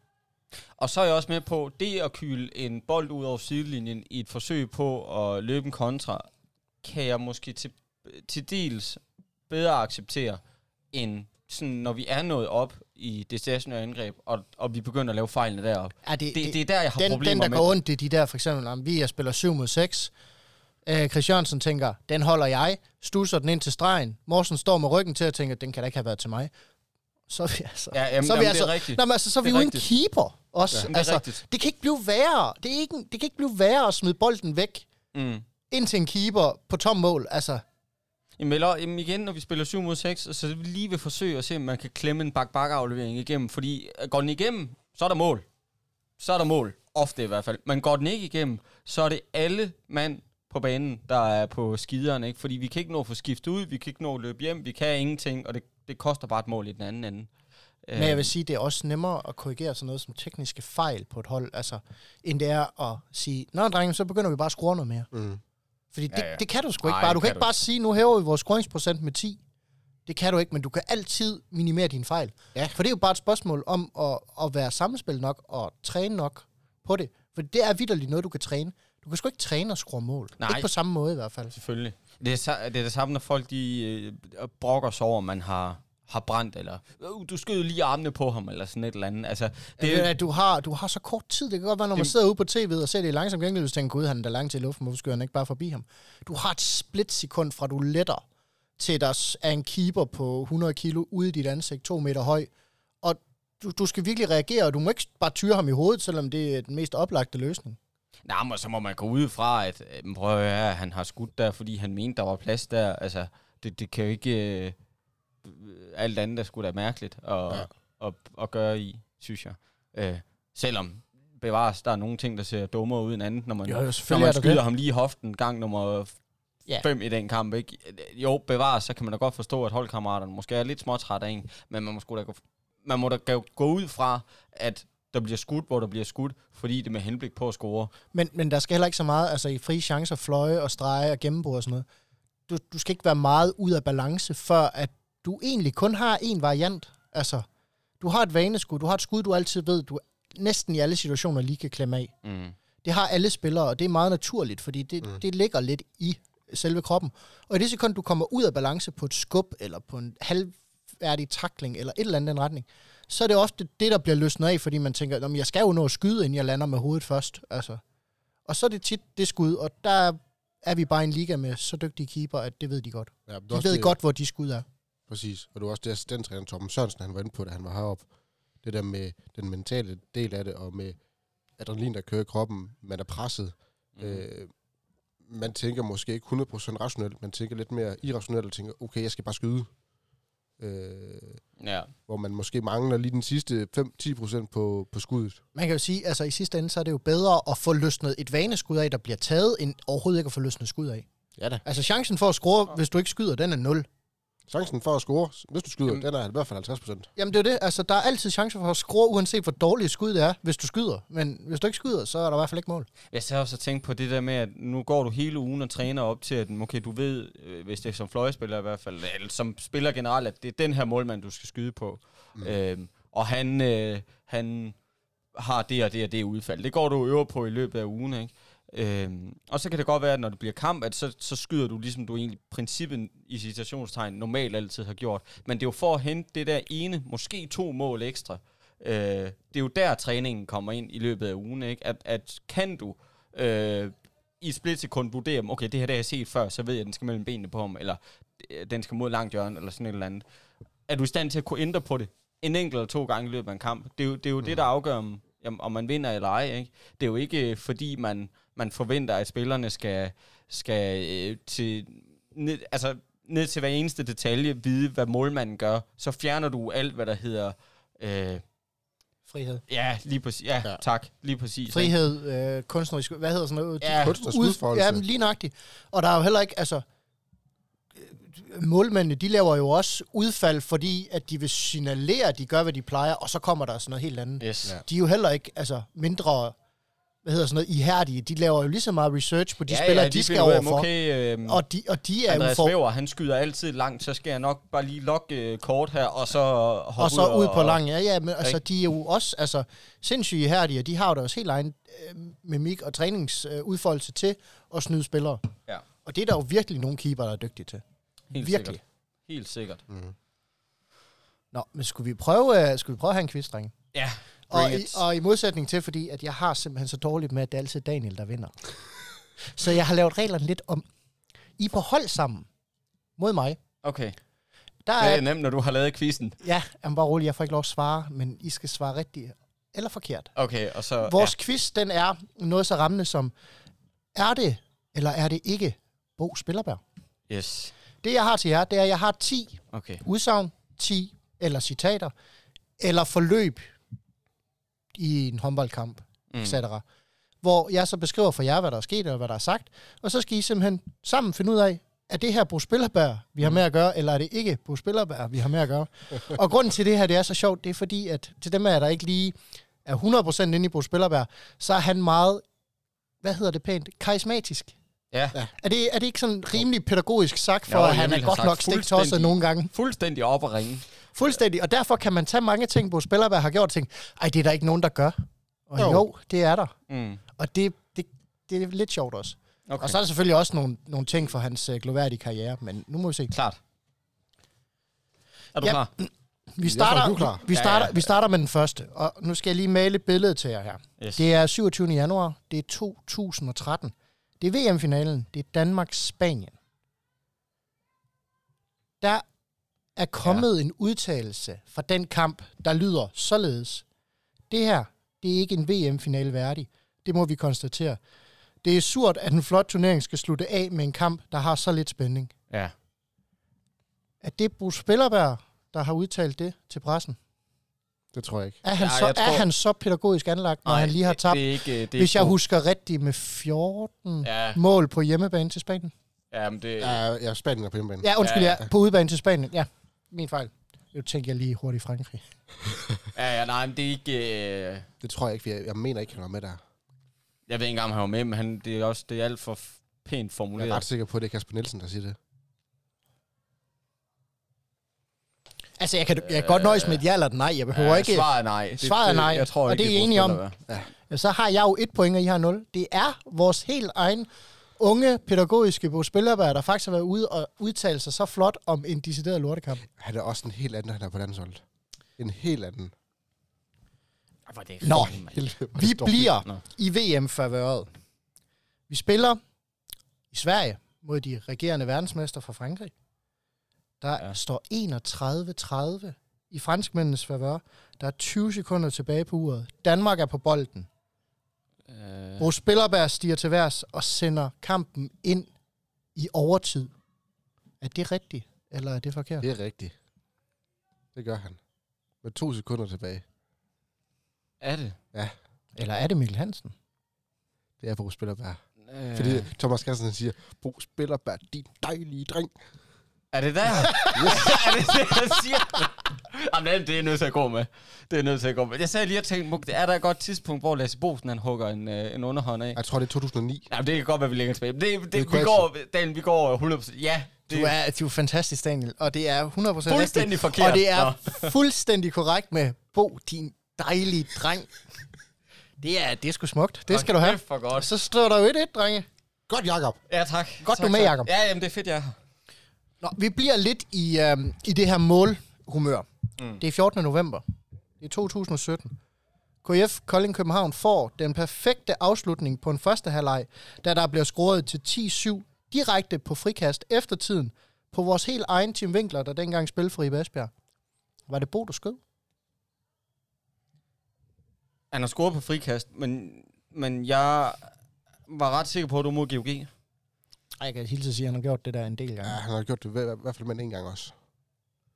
C: Og så er jeg også med på, det at kyle en bold ud over sidelinjen i et forsøg på at løbe en kontra, kan jeg måske til, til dels bedre acceptere, end sådan, når vi er nået op i det stationære angreb, og, og vi begynder at lave fejlene deroppe.
B: Er det,
C: Det, det er der, jeg har
B: den, den,
C: problemer
B: der
C: med.
B: går ondt, det er de der, for eksempel, om vi er spiller 7 mod 6. Øh, Christiansen tænker, den holder jeg, stusser den ind til stregen. Morsen står med ryggen til og tænker, den kan da ikke have været til mig. Så er vi altså...
C: Ja, jamen,
B: så er vi
C: jamen,
B: altså,
C: det er rigtigt.
B: Nå, men altså, så er vi
C: Det
B: jo
C: er
B: en
C: rigtigt.
B: keeper også.
C: Jamen, det er
B: altså,
C: rigtigt.
B: det kan ikke blive værre. Det, er ikke, en- det kan ikke blive værre at smide bolden væk
C: Mm.
B: ind til en keeper på tom mål. Altså,
C: Jamen, eller, jamen igen, når vi spiller 7 mod 6, så vi lige vil forsøge at se, om man kan klemme en bak bak aflevering igennem, fordi øh, går den igennem, så er der mål. Så er der mål, ofte i hvert fald. Men går den ikke igennem, så er det alle mand på banen, der er på skiderne, ikke? Fordi vi kan ikke nå at få skiftet ud, vi kan ikke nå at løbe hjem, vi kan ingenting, og det, det koster bare et mål i den anden ende. Øh,
B: Men
C: Øhm.
B: jeg vil sige, det er også nemmere at korrigere sådan noget som tekniske fejl på et hold, altså, end det er at sige, nå drenge, så begynder vi bare at score noget mere.
A: Mm.
B: Fordi
C: Ja,
B: det, ja,
C: ja.
B: ja. det kan du sgu ikke
C: Nej,
B: bare.
C: det
B: Du kan,
C: kan
B: ikke
C: du
B: bare sige, nu hæver vi vores scoringsprocent med 10. Det kan du ikke, men du kan altid minimere dine fejl.
A: Ja.
B: For det er jo bare et spørgsmål om at, at være samspil nok og træne nok på det. For det er vidderligt noget, du kan træne. Du kan sgu ikke træne og score mål.
C: Nej.
B: Ikke på samme måde i hvert fald.
C: Selvfølgelig. Det er, sa- det er det samme, når folk de øh, brokker sig over, at man har, har brændt, eller øh, du skød lige armene på ham, eller sådan et eller andet. Altså, det,
B: Det, at du, har, du har så kort tid. Det kan godt være, når man
C: Jamen-
B: sidder ude på tv'et og ser det i langsom gengæld, så tænker gud, han er da langt til i luften, hvorfor skyder han ikke bare forbi ham? Du har et splitsekund fra, du letter til der s- er en keeper på 100 kilo ude i dit ansigt, to meter høj, og du, du skal virkelig reagere, og du må ikke bare tyre ham i hovedet, selvom det er den mest oplagte løsning.
C: Nej, men så må man gå ud fra, at øh, men prøv at høre, her, han har skudt der, fordi han mente, der var plads der. Altså, det, det kan jo ikke... Øh, alt andet er sgu da mærkeligt at, ja.
A: Ja.
C: at, at, gøre i, synes jeg. Øh, selvom bevares, der er nogle ting, der ser dummere ud end andet, når man,
B: Jo, jo,
C: når
B: selvfølgelig er
C: man
B: der
C: skyder
B: det.
C: ham lige i hoften gang nummer
B: Ja.
C: 5 i den kamp. Ikke? Øh, Jo, bevares, så kan man da godt forstå, at holdkammeraterne måske er lidt småtrætte af en, men man må, sgu da gå, man må da gå- gå ud fra, at der bliver skudt, hvor der bliver skudt, fordi det er med henblik på at score.
B: Men, men der skal heller ikke så meget, altså i frie chancer, fløje og strege og gennembrud og sådan noget. Du, du skal ikke være meget ud af balance, før at du egentlig kun har én variant. Altså, du har et vaneskud, du har et skud, du altid ved, du næsten i alle situationer lige kan klemme af.
C: Mm.
B: Det har alle spillere, og det er meget naturligt, fordi det, mm. det ligger lidt i selve kroppen. Og i det sekund, du kommer ud af balance på et skub, eller på en halvværdig takling, eller et eller andet i den retning, så er det ofte det, der bliver løsnet af, fordi man tænker, "Nå, men jeg skal jo nå at skyde, inden jeg lander med hovedet først. Altså. Og så er det tit det skud, og der er vi bare i en liga med så dygtige keeper, at det ved de godt.
A: Ja, men det er
B: De
A: også
B: ved
A: det-
B: godt, hvor de skud er.
A: Præcis. Og det var også det assistenttræner Torben Sørensen, han var inde på, da han var heroppe. Det der med den mentale del af det, og med adrenalin, der kører i kroppen. Man er presset. Mm. Øh, man tænker måske ikke 100% rationelt. Man tænker lidt mere irrationelt og tænker, okay, jeg skal bare skyde. Øh,
C: Ja.
A: hvor man måske mangler lige den sidste 5-10% på, på skuddet.
B: Man kan jo sige, altså i sidste ende, så er det jo bedre at få løsnet et vaneskud af, der bliver taget, end overhovedet ikke at få løsnet skud af.
A: Ja da.
B: Altså chancen for at score, hvis du ikke skyder, den er 0.
A: Chancen for at score, hvis du skyder,
C: Jamen.
A: Jamen. den er i hvert fald 50%.
B: Jamen det er jo det. Altså, der er altid chance for at score, uanset hvor dårligt et skud det er, hvis du skyder. Men hvis du ikke skyder, så er der i hvert fald ikke mål.
C: Jeg sad også og tænkte på det der med, at nu går du hele ugen og træner op til, at okay, du ved, øh, hvis det er som fløjespiller i hvert fald, eller som spiller generelt, at det er den her målmand, du skal skyde på. Mm. Øhm, og han, øh, han har det og det og det udfald. Det går du og øver på i løbet af ugen, ikke? Øhm, og så kan det godt være, at når det bliver kamp, at så, så skyder du ligesom du egentlig princippet i citationstegn normalt altid har gjort. Men det er jo for at hente det der ene, måske to mål ekstra. Øh, det er jo der træningen kommer ind i løbet af ugen, ikke? At, at kan du øh, i et splitsekund vurdere, om, okay, det her det har jeg set før, så ved jeg, at den skal mellem benene på ham, eller øh, den skal mod langt hjørne, eller sådan et eller andet. Er du i stand til at kunne ændre på det en enkelt eller to gange i løbet af en kamp? Det er jo det, er jo mm. det der afgør, om, om- om man vinder eller ej. Ikke? Det er jo ikke, øh, fordi man, man forventer, at spillerne skal, skal øh, til, ned, altså, ned til hver eneste detalje vide, hvad målmanden gør. Så fjerner du alt, hvad der hedder... Øh,
B: Frihed.
C: ja, lige præcis. Ja, ja,
A: Ja.
C: tak. Lige præcis. ikke?
B: Frihed, øh, kunstnerisk... Hvad hedder sådan noget?
C: Ja,
A: Kunstners
B: Ud,
A: udfoldelse.
B: ja, men lige nøjagtigt. Og der er jo heller ikke, altså... øh, Målmændene, de laver jo også udfald, fordi at de vil signalere, at de gør, hvad de plejer, og så kommer der sådan noget helt andet.
C: Yes.
A: Ja.
B: de er jo heller ikke altså, mindre hvad hedder sådan noget, ihærdige. De laver jo lige så meget research på de ja, spillere, ja, de, de skal
C: finder ud af,
B: overfor. Okay.
C: Okay, øhm,
B: Og de, og de er jo
C: Andreas
B: for,
C: Væver, han skyder altid langt, så skal jeg nok bare lige lokke øh, kort her, og så hoppe
B: og så ud på
C: og-
B: lang. Ja, ja, men altså,
C: Ikke?
B: de er jo også altså, sindssygt ihærdige, og de har jo deres helt egen øh, mimik og træningsudfoldelse til at snyde spillere.
C: Ja.
B: Og det er der jo virkelig nogle keeper, der er dygtige til.
C: Helt
B: Virkelig.
C: Sikkert. Helt sikkert.
B: Mm. Nå, men skulle vi prøve, øh, skulle vi prøve at have en quiz, drenge?
C: Ja,
B: Og
C: bring
B: i,
C: it.
B: og i modsætning til, fordi at jeg har simpelthen så dårligt med, at det er altid Daniel, der vinder. så jeg har lavet reglerne lidt om. I er på hold sammen mod mig.
C: Okay,
B: Der
C: det er
B: er,
C: nemt, når du har lavet quizzen.
B: ja, jamen bare rolig, jeg får ikke lov at svare, men I skal svare rigtigt eller forkert.
C: Okay, og så...
B: Vores ja. quiz, den er noget så rammende som, er det eller er det ikke Bo Spillerberg?
C: Ja. Yes.
B: Det, jeg har til jer, det er, at jeg har 10
C: Okay.
B: udsagn, 10 eller citater, eller forløb i en håndboldkamp, mm. etc. hvor jeg så beskriver for jer, hvad der er sket og hvad der er sagt. Og så skal I simpelthen sammen finde ud af, er det her Bo Spillerbær, vi har
C: Mm.
B: med at gøre, eller er det ikke Bo Spillerbær, vi har med at gøre? og grunden til det her, det er så sjovt, det er fordi, at til dem af jer, der ikke lige er 100% inde i Bo Spillerbær, så er han meget, hvad hedder det pænt, karismatisk.
C: Ja.
A: Ja.
B: Er det, er det ikke sådan rimelig pædagogisk sagt, for
C: Jo,
B: jo,
C: jeg
B: at han
C: ville
B: er
C: have
B: godt
C: sagt
B: nok stiktosset
C: fuldstændig.
B: nogle gange?
C: Fuldstændig op at ringe.
B: Fuldstændig, og derfor kan man tage mange ting, Bo Spillerberg har gjort, og tænke, ej, det er der ikke nogen, der gør. Og
A: Jo.
B: jo, jo det er der.
C: Mm.
B: Og det, det, det er lidt sjovt også. Okay.
C: Okay.
B: Og så er der selvfølgelig også nogle, nogle ting for hans øh, gloværdige karriere, men nu må vi se.
C: Klart. Er du
B: Ja. Mm.
C: ja.
A: tror,
B: Vi
C: klar?
A: du er
B: starter,
A: klar.
B: vi, starter,
C: Ja, ja.
B: vi starter med den første, og nu skal jeg lige male et billede til jer her.
C: Yes.
B: Det er 27. januar, det er 2013. Det er VM-finalen, det er Danmark-Spanien. Der er kommet ja. en udtalelse fra den kamp, der lyder således. Det her, det er ikke en VM-finale værdig. Det må vi konstatere. Det er surt, at en flot turnering skal slutte af med en kamp, der har så lidt spænding.
C: Ja.
B: Er det Bruce Spillerberg, der har udtalt det til pressen?
A: Det tror jeg ikke.
B: Er han,
C: Ja,
B: ja, så,
C: jeg
B: tror...
C: tror-
B: er han så pædagogisk anlagt, når Nej, han lige har
C: det-
B: tabt
C: Det er ikke, øh, det er
B: Hvis
C: ikke
B: jeg
C: god-
B: husker rigtigt med 14 ja.
C: Ja,
B: mål på hjemmebane til Spanien.
C: ja men det... Ja.
A: Ja, ja Spanien er på hjemmebane.
B: Ja, undskyld,
C: Øh. Ja,
B: ja. på udebane til Spanien. Ja, min fejl. Nu tænker jeg lige hurtigt Frankrig.
C: ja, ja, nej, men det er ikke... Øh,
A: Det tror jeg ikke, for jeg, jeg mener ikke, han var med der.
C: jeg ved ikke engang, om han var med, men han, det er også det er alt for f- pænt
A: Jeg
C: formuleret.
A: er ret sikker på, at det er Kasper Nielsen, der siger det.
B: Altså, jeg kan, jeg kan godt nøjes med et ja eller et nej. Jeg behøver ja,
C: ja,
B: ikke...
C: Svaret er nej. Det-
B: Svaret er
C: det-
B: nej,
C: Jeg tror,
B: og
C: ikke,
B: det er I
C: Bruce
B: enige om.
C: Spiller, hvad?
B: Så har jeg jo et point, og I har nul. Det er vores helt egen unge pædagogiske Bo Spillerberg, der faktisk har været ude og udtale sig så flot om en decideret lortekamp.
A: Han er også en helt anden, når han er på landsholdet. En helt anden.
C: Ej, hvor er det
B: Nå,
C: fandme-
A: Helt, hvor er
B: Vi
A: det dårligt.
C: Nå.
B: bliver i VM-favøret. Vi spiller i Sverige mod de regerende verdensmester fra Frankrig. Der
C: Ja.
B: ja. står 31-30 i franskmændenes favør. Der er 20 sekunder tilbage på uret. Danmark er på bolden.
C: Øh,
B: Bo Spillerberg stiger til værs og sender kampen ind i overtid. Er det rigtigt, eller er det forkert?
A: Det er rigtigt. Det gør han. Med to sekunder tilbage.
C: er det?
B: Eller er det Mikkel Hansen?
A: Det er Bo Spillerbær.
C: Øh,
A: Fordi Thomas Christensen han siger, Bo Spillerbær, din dejlige dreng.
C: Er det der? yes. er det det, jeg siger? Jamen, det, det er nødt til at gå med. Det er nødt til at gå med. Jeg sagde lige og tænkte, Muk, det er der et godt tidspunkt, hvor Lasse Bosen han hugger en, øh, en underhånd af.
A: Jeg tror, det er 2009.
C: Jamen, det kan godt være, vi ligger tilbage. Men Det, det,
A: Det er
C: det vi, går, Dan, vi går 100%. Ja,
B: Du
C: det
B: er, du er fantastisk, Daniel, og det er 100% rigtigt.
C: fuldstændig forkert.
B: Og det er
C: Nå.
B: fuldstændig korrekt med Bo, din dejlige dreng. Det er, det er sgu smukt. Det skal du
C: Hold
B: have.
C: kæft, hvor godt.
B: Så står der jo et et, drenge.
A: Godt, Jakob.
C: Ja, tak.
B: Godt,
C: tak,
B: du er med,
C: tak.
B: Jacob.
C: Ja, jamen, det er fedt, jeg er her.
B: Nå, vi bliver lidt i, øh, i det her målhumør. Mm. Det er 14. november. Det er 2017. KF Kolding København får den perfekte afslutning på en første halvleg, da der bliver scoret til 10-7 direkte på frikast efter tiden på vores helt egen Tim Winkler, der dengang spillede for IB Esbjerg. Var det Bo, der skød?
C: Han har scoret på frikast, men, men jeg var ret sikker på, at du mod GOG.
B: Ej, jeg kan hilse at sige, at han har gjort det der en del gange.
A: Ja, han har gjort det i hver- i hvert fald med en gang også.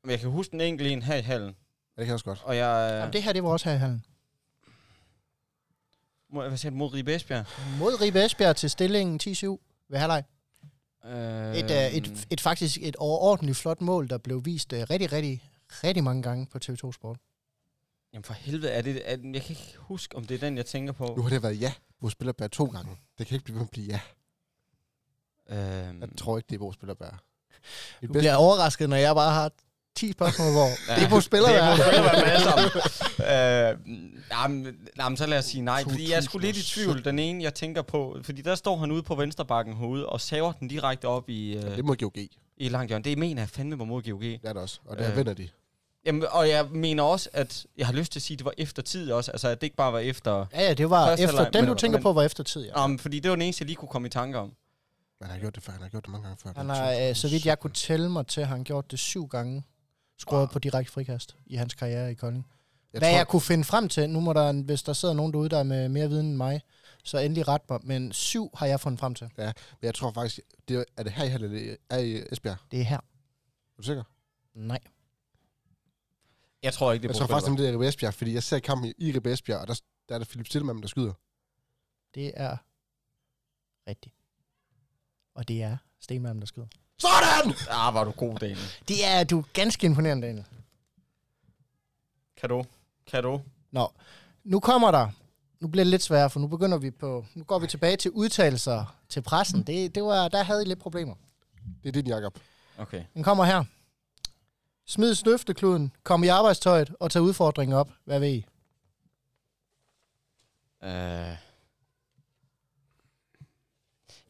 C: Men jeg kan huske den enkelte en her i hallen,
A: Ja, det kan jeg også godt.
C: og jeg...
B: Jamen, det her, det var også her i hallen.
C: Mod, øh, hvad sagde du? Mod Ribe Esbjerg?
B: Mod Ribe Esbjerg til stillingen 10-7 ved halvleg.
C: Øh,
B: Et, øh, et, et, faktisk et overordentligt flot mål, der blev vist øh, rigtig, rigtig, rigtig mange gange på TV2 Sport.
C: Jamen for helvede, er det, er, den- jeg kan ikke huske, om det er den, jeg tænker på.
A: Nu har det været ja. Bo Spillerbær to gange. Det kan ikke blive ved med at blive ja.
C: Øhm,
A: Jeg tror ikke, det er Bo Spillerbær. Min
B: Du
A: bedste,
B: bliver overrasket, når jeg bare har 10 spørgsmål, hvor
C: Ja.
B: det er på spiller.
C: Det er på spiller, hvad alle sammen. øh, jamen, jamen, så lad os sige nej, fordi jeg er sgu lidt i tvivl. Den ene, jeg tænker på, fordi der står han ude på venstrebakken herude og saver den direkte op i, øh,
A: det må GOG.
C: i langt hjørne. Det mener jeg fandme var mod GOG.
A: Det er det også. Og der
C: Øh.
A: vinder de.
C: Jamen, og jeg mener også, at jeg har lyst til at sige, at det var efter tid også. Altså, at det ikke bare var efter...
B: Ja, ja, det var
C: Første
B: efter,
C: halvleg,
B: den
C: men-
B: du tænker
C: men-
B: på var efter tid, ja.
C: Om, fordi det var den eneste, jeg lige kunne komme i tanke om.
A: Men han har gjort det før. Han har gjort det mange gange før.
B: Han har, øh, så vidt jeg kunne tælle mig til, har han gjort det syv gange scoret på direkte frikast i hans karriere i Kolding.
A: Jeg
B: Hvad
A: tror,
B: jeg kunne finde frem til, nu må der, en- hvis der sidder nogen derude, der er med mere viden end mig, så endelig ret mig, men syv har jeg fundet frem til.
A: Men jeg tror faktisk, det er, er det her i Halland, eller er i Esbjerg?
B: Det er her.
A: Er du sikker?
B: Nej.
C: Jeg tror ikke, det
A: Jeg
C: er
A: tror
C: Bo
A: faktisk,
C: Spiller.
A: nemlig, det er Ribe Esbjerg, fordi jeg ser kampen i Ribe Esbjerg, og der, der er det Philip Stillemann, der skyder.
B: Det er rigtigt. Og det er Stenmalm, der skyder.
A: Sådan!
C: Ah, var du god, Daniel.
B: Det er du er ganske imponerende, Daniel.
C: Kado. Kado.
B: Nå, nu kommer der. Nu bliver det lidt sværere, for nu begynder vi på... Nu går vi tilbage til udtalelser til pressen. Det, det var, der havde I lidt problemer.
A: Det er din, Jacob.
C: Okay.
B: Den kommer her. Smid snøftekluden, kom i arbejdstøjet og tag udfordringen op. Hvad ved I?
C: Uh,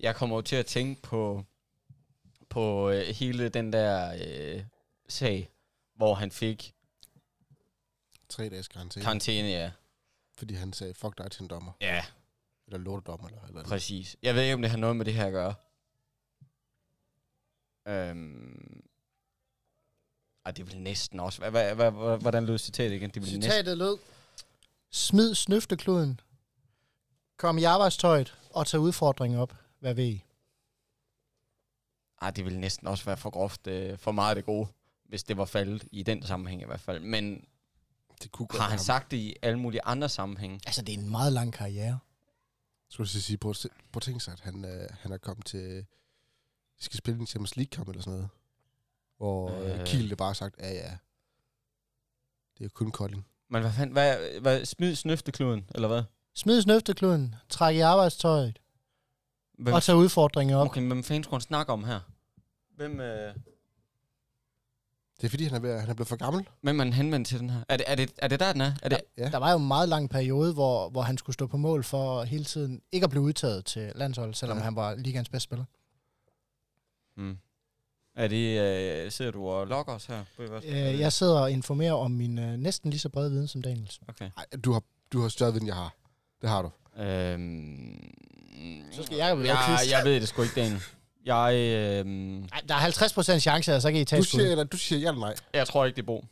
C: jeg kommer jo til at tænke på, på øh, hele den der øh, sag, hvor han fik
A: Tre dages karantæne.
C: karantæne, ja.
A: fordi han sagde, fuck dig til en dommer.
C: Ja,
A: Eller lortedommer. Eller, eller andet.
C: præcis. Jeg ved ikke, om det har noget med det her at gøre. Øhm. Ej, det ville næsten også... Hva, hva, hva, hva, hvordan lød citatet igen? Det ville næsten...
B: Citatet lød. Smid snøftekluden, kom i arbejdstøjet og tag udfordringen op. Hvad ved I?
C: Ej, det ville næsten også være for groft øh, for meget af det gode, hvis det var faldet i den sammenhæng i hvert fald. Men
A: Det kunne godt
C: Har han
A: være ham.
C: sagt det i alle mulige andre sammenhænge?
B: Altså, det er en meget lang karriere.
A: Skulle jeg til at sige, prøv at, se- prøv at tænke sig, at han, øh, han er kommet til... De skal spille en Champions League-kamp eller sådan noget. Hvor øh.
C: Øh.
A: Kiel det bare har sagt, ja ja. Det er kun Kolding.
C: Men hvad fanden, hvad, hvad smid snøftekluden, eller hvad?
B: Smid snøftekluden, træk i arbejdstøjet
C: Hvem,
B: og tag udfordringen op.
C: okay, men hvem fanden skulle han snakke om her? Hvem, øh,
A: Det er fordi, han er, ved, at- han er blevet for gammel.
C: hvem er han henvendt til den her? Er det, er det, er det der, den er? er det,
A: Ja.
B: Der var jo en meget lang periode, hvor, hvor han skulle stå på mål for hele tiden ikke at blive udtaget til landsholdet, selvom
A: Ja.
B: ja. han var ligands bedste spiller.
C: hmm. er det øh, sidder du og lokker os her? På Ivers? Er
B: Øh,
C: det-
B: jeg sidder og informerer om min øh, næsten lige så brede viden som Daniels.
C: Okay.
A: Ej, du har, du har større viden, jeg har. Det har du.
C: Øhm,
B: Så skal jeg jo lave
C: jeg,
B: quiz.
C: jeg ved det sgu ikke, Daniel. Jeg, øhm,
B: Ej, der er 50% chance, og så kan I tage
A: Du
B: et skud.
A: siger, eller, du siger ja eller nej.
C: jeg tror ikke, det er Bo.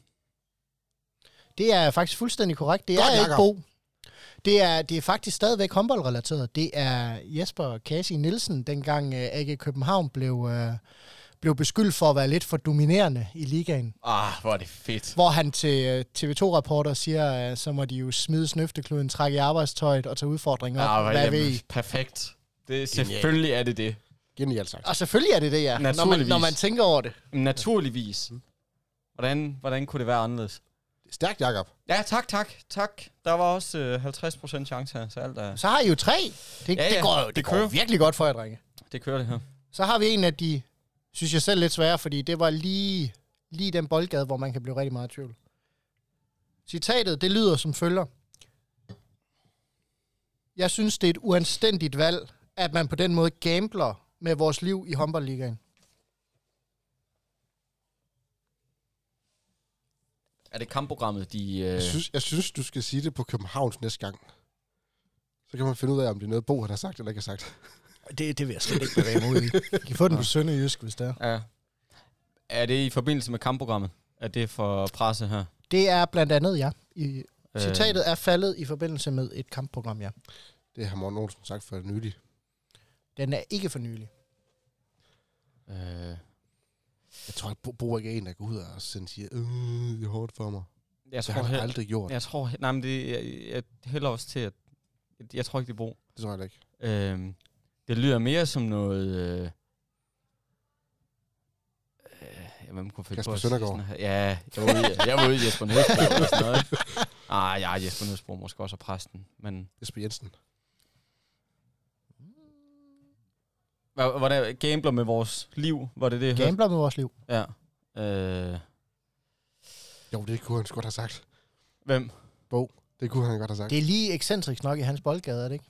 B: Det er faktisk fuldstændig korrekt. Det
A: Godt,
B: er ikke
A: Jacob.
B: Bo. Det er, det er faktisk stadigvæk håndboldrelateret. Det er Jesper Kasi Nielsen, dengang øh, AG København blev, øh, blev beskyldt for at være lidt for dominerende i ligaen.
C: Ah, hvor er det fedt.
B: Hvor han til øh, TV2-rapporter siger, øh, så må de jo smide snøftekluden, trække i arbejdstøjet og tage udfordringer op.
C: Ah,
B: Ah, Hvad ved I?
C: perfekt. Det, selvfølgelig er det det.
A: Genialt sagt.
B: Og selvfølgelig er det det, ja. Når man,
C: Naturligvis.
B: når man tænker over det.
C: Naturligvis.
B: Mm.
C: Hvordan, hvordan kunne det være anderledes?
A: Stærkt, Jacob.
C: Ja, tak, tak, tak. Der var også øh, 50% chance her, så alt er...
B: Så har I jo tre. Det,
C: Ja,
B: ja, ja.
C: ja.
B: det går jo det
C: Det
B: går
C: kører.
B: virkelig godt for jer, drenge.
C: Det kører det her.
B: Så har vi en af de, synes jeg selv lidt svære, fordi det var lige, lige den boldgade, hvor man kan blive rigtig meget i tvivl. Citatet, det lyder som følger. Jeg synes, det er et uanstændigt valg, at man på den måde gambler med vores liv i håndboldligaen.
C: Er det kampprogrammet, de... Øh...
A: Jeg synes, jeg synes, du skal sige det på Københavns næste gang. Så kan man finde ud af, om det er noget Bo, han har sagt eller ikke har sagt.
B: Det, det vil jeg slet ikke bevæge mig ud i. I kan få den på Sønderjysk, hvis det er.
C: Ja. Er det i forbindelse med kampprogrammet? Er det for presse her?
B: Det er blandt andet, ja. I,
C: Øh,
B: citatet er faldet i forbindelse med et kampprogram, ja.
A: Det har Morten Olsen sagt for nylig.
B: Den er ikke for nylig.
C: Øh,
A: Jeg tror ikke, Bo, Bo er ikke en, der går ud og sådan siger, øh, det er hårdt for mig.
C: jeg
A: Så
C: tror,
A: han har
C: he-
A: aldrig gjort. Ja.
C: jeg tror he- Nej, men det, jeg, jeg hælder også til, at... Jeg tror ikke, det er brug.
A: Det tror jeg da ikke.
C: Øh, det lyder mere som noget... Øh... Øh, hvem kunne finde
A: Kasper
C: på at sige sådan
A: Søndergaard.
C: her? Ja, jeg var ude, jeg var ude i Jesper Nødsbro eller sådan noget. Ah, ja, Jesper Nødsbro er måske også er præsten, men...
A: Jesper Jensen.
C: Hva- Hvordan gambler med vores liv? Var det det, jeg hørte?
B: Gambler med vores liv.
C: Ja. Øh,
A: Jo, det kunne han sgu godt have sagt.
C: hvem?
A: Det kunne han godt have sagt. Det.
B: Det er lige ekscentrisk nok i hans boldgade, er det ikke?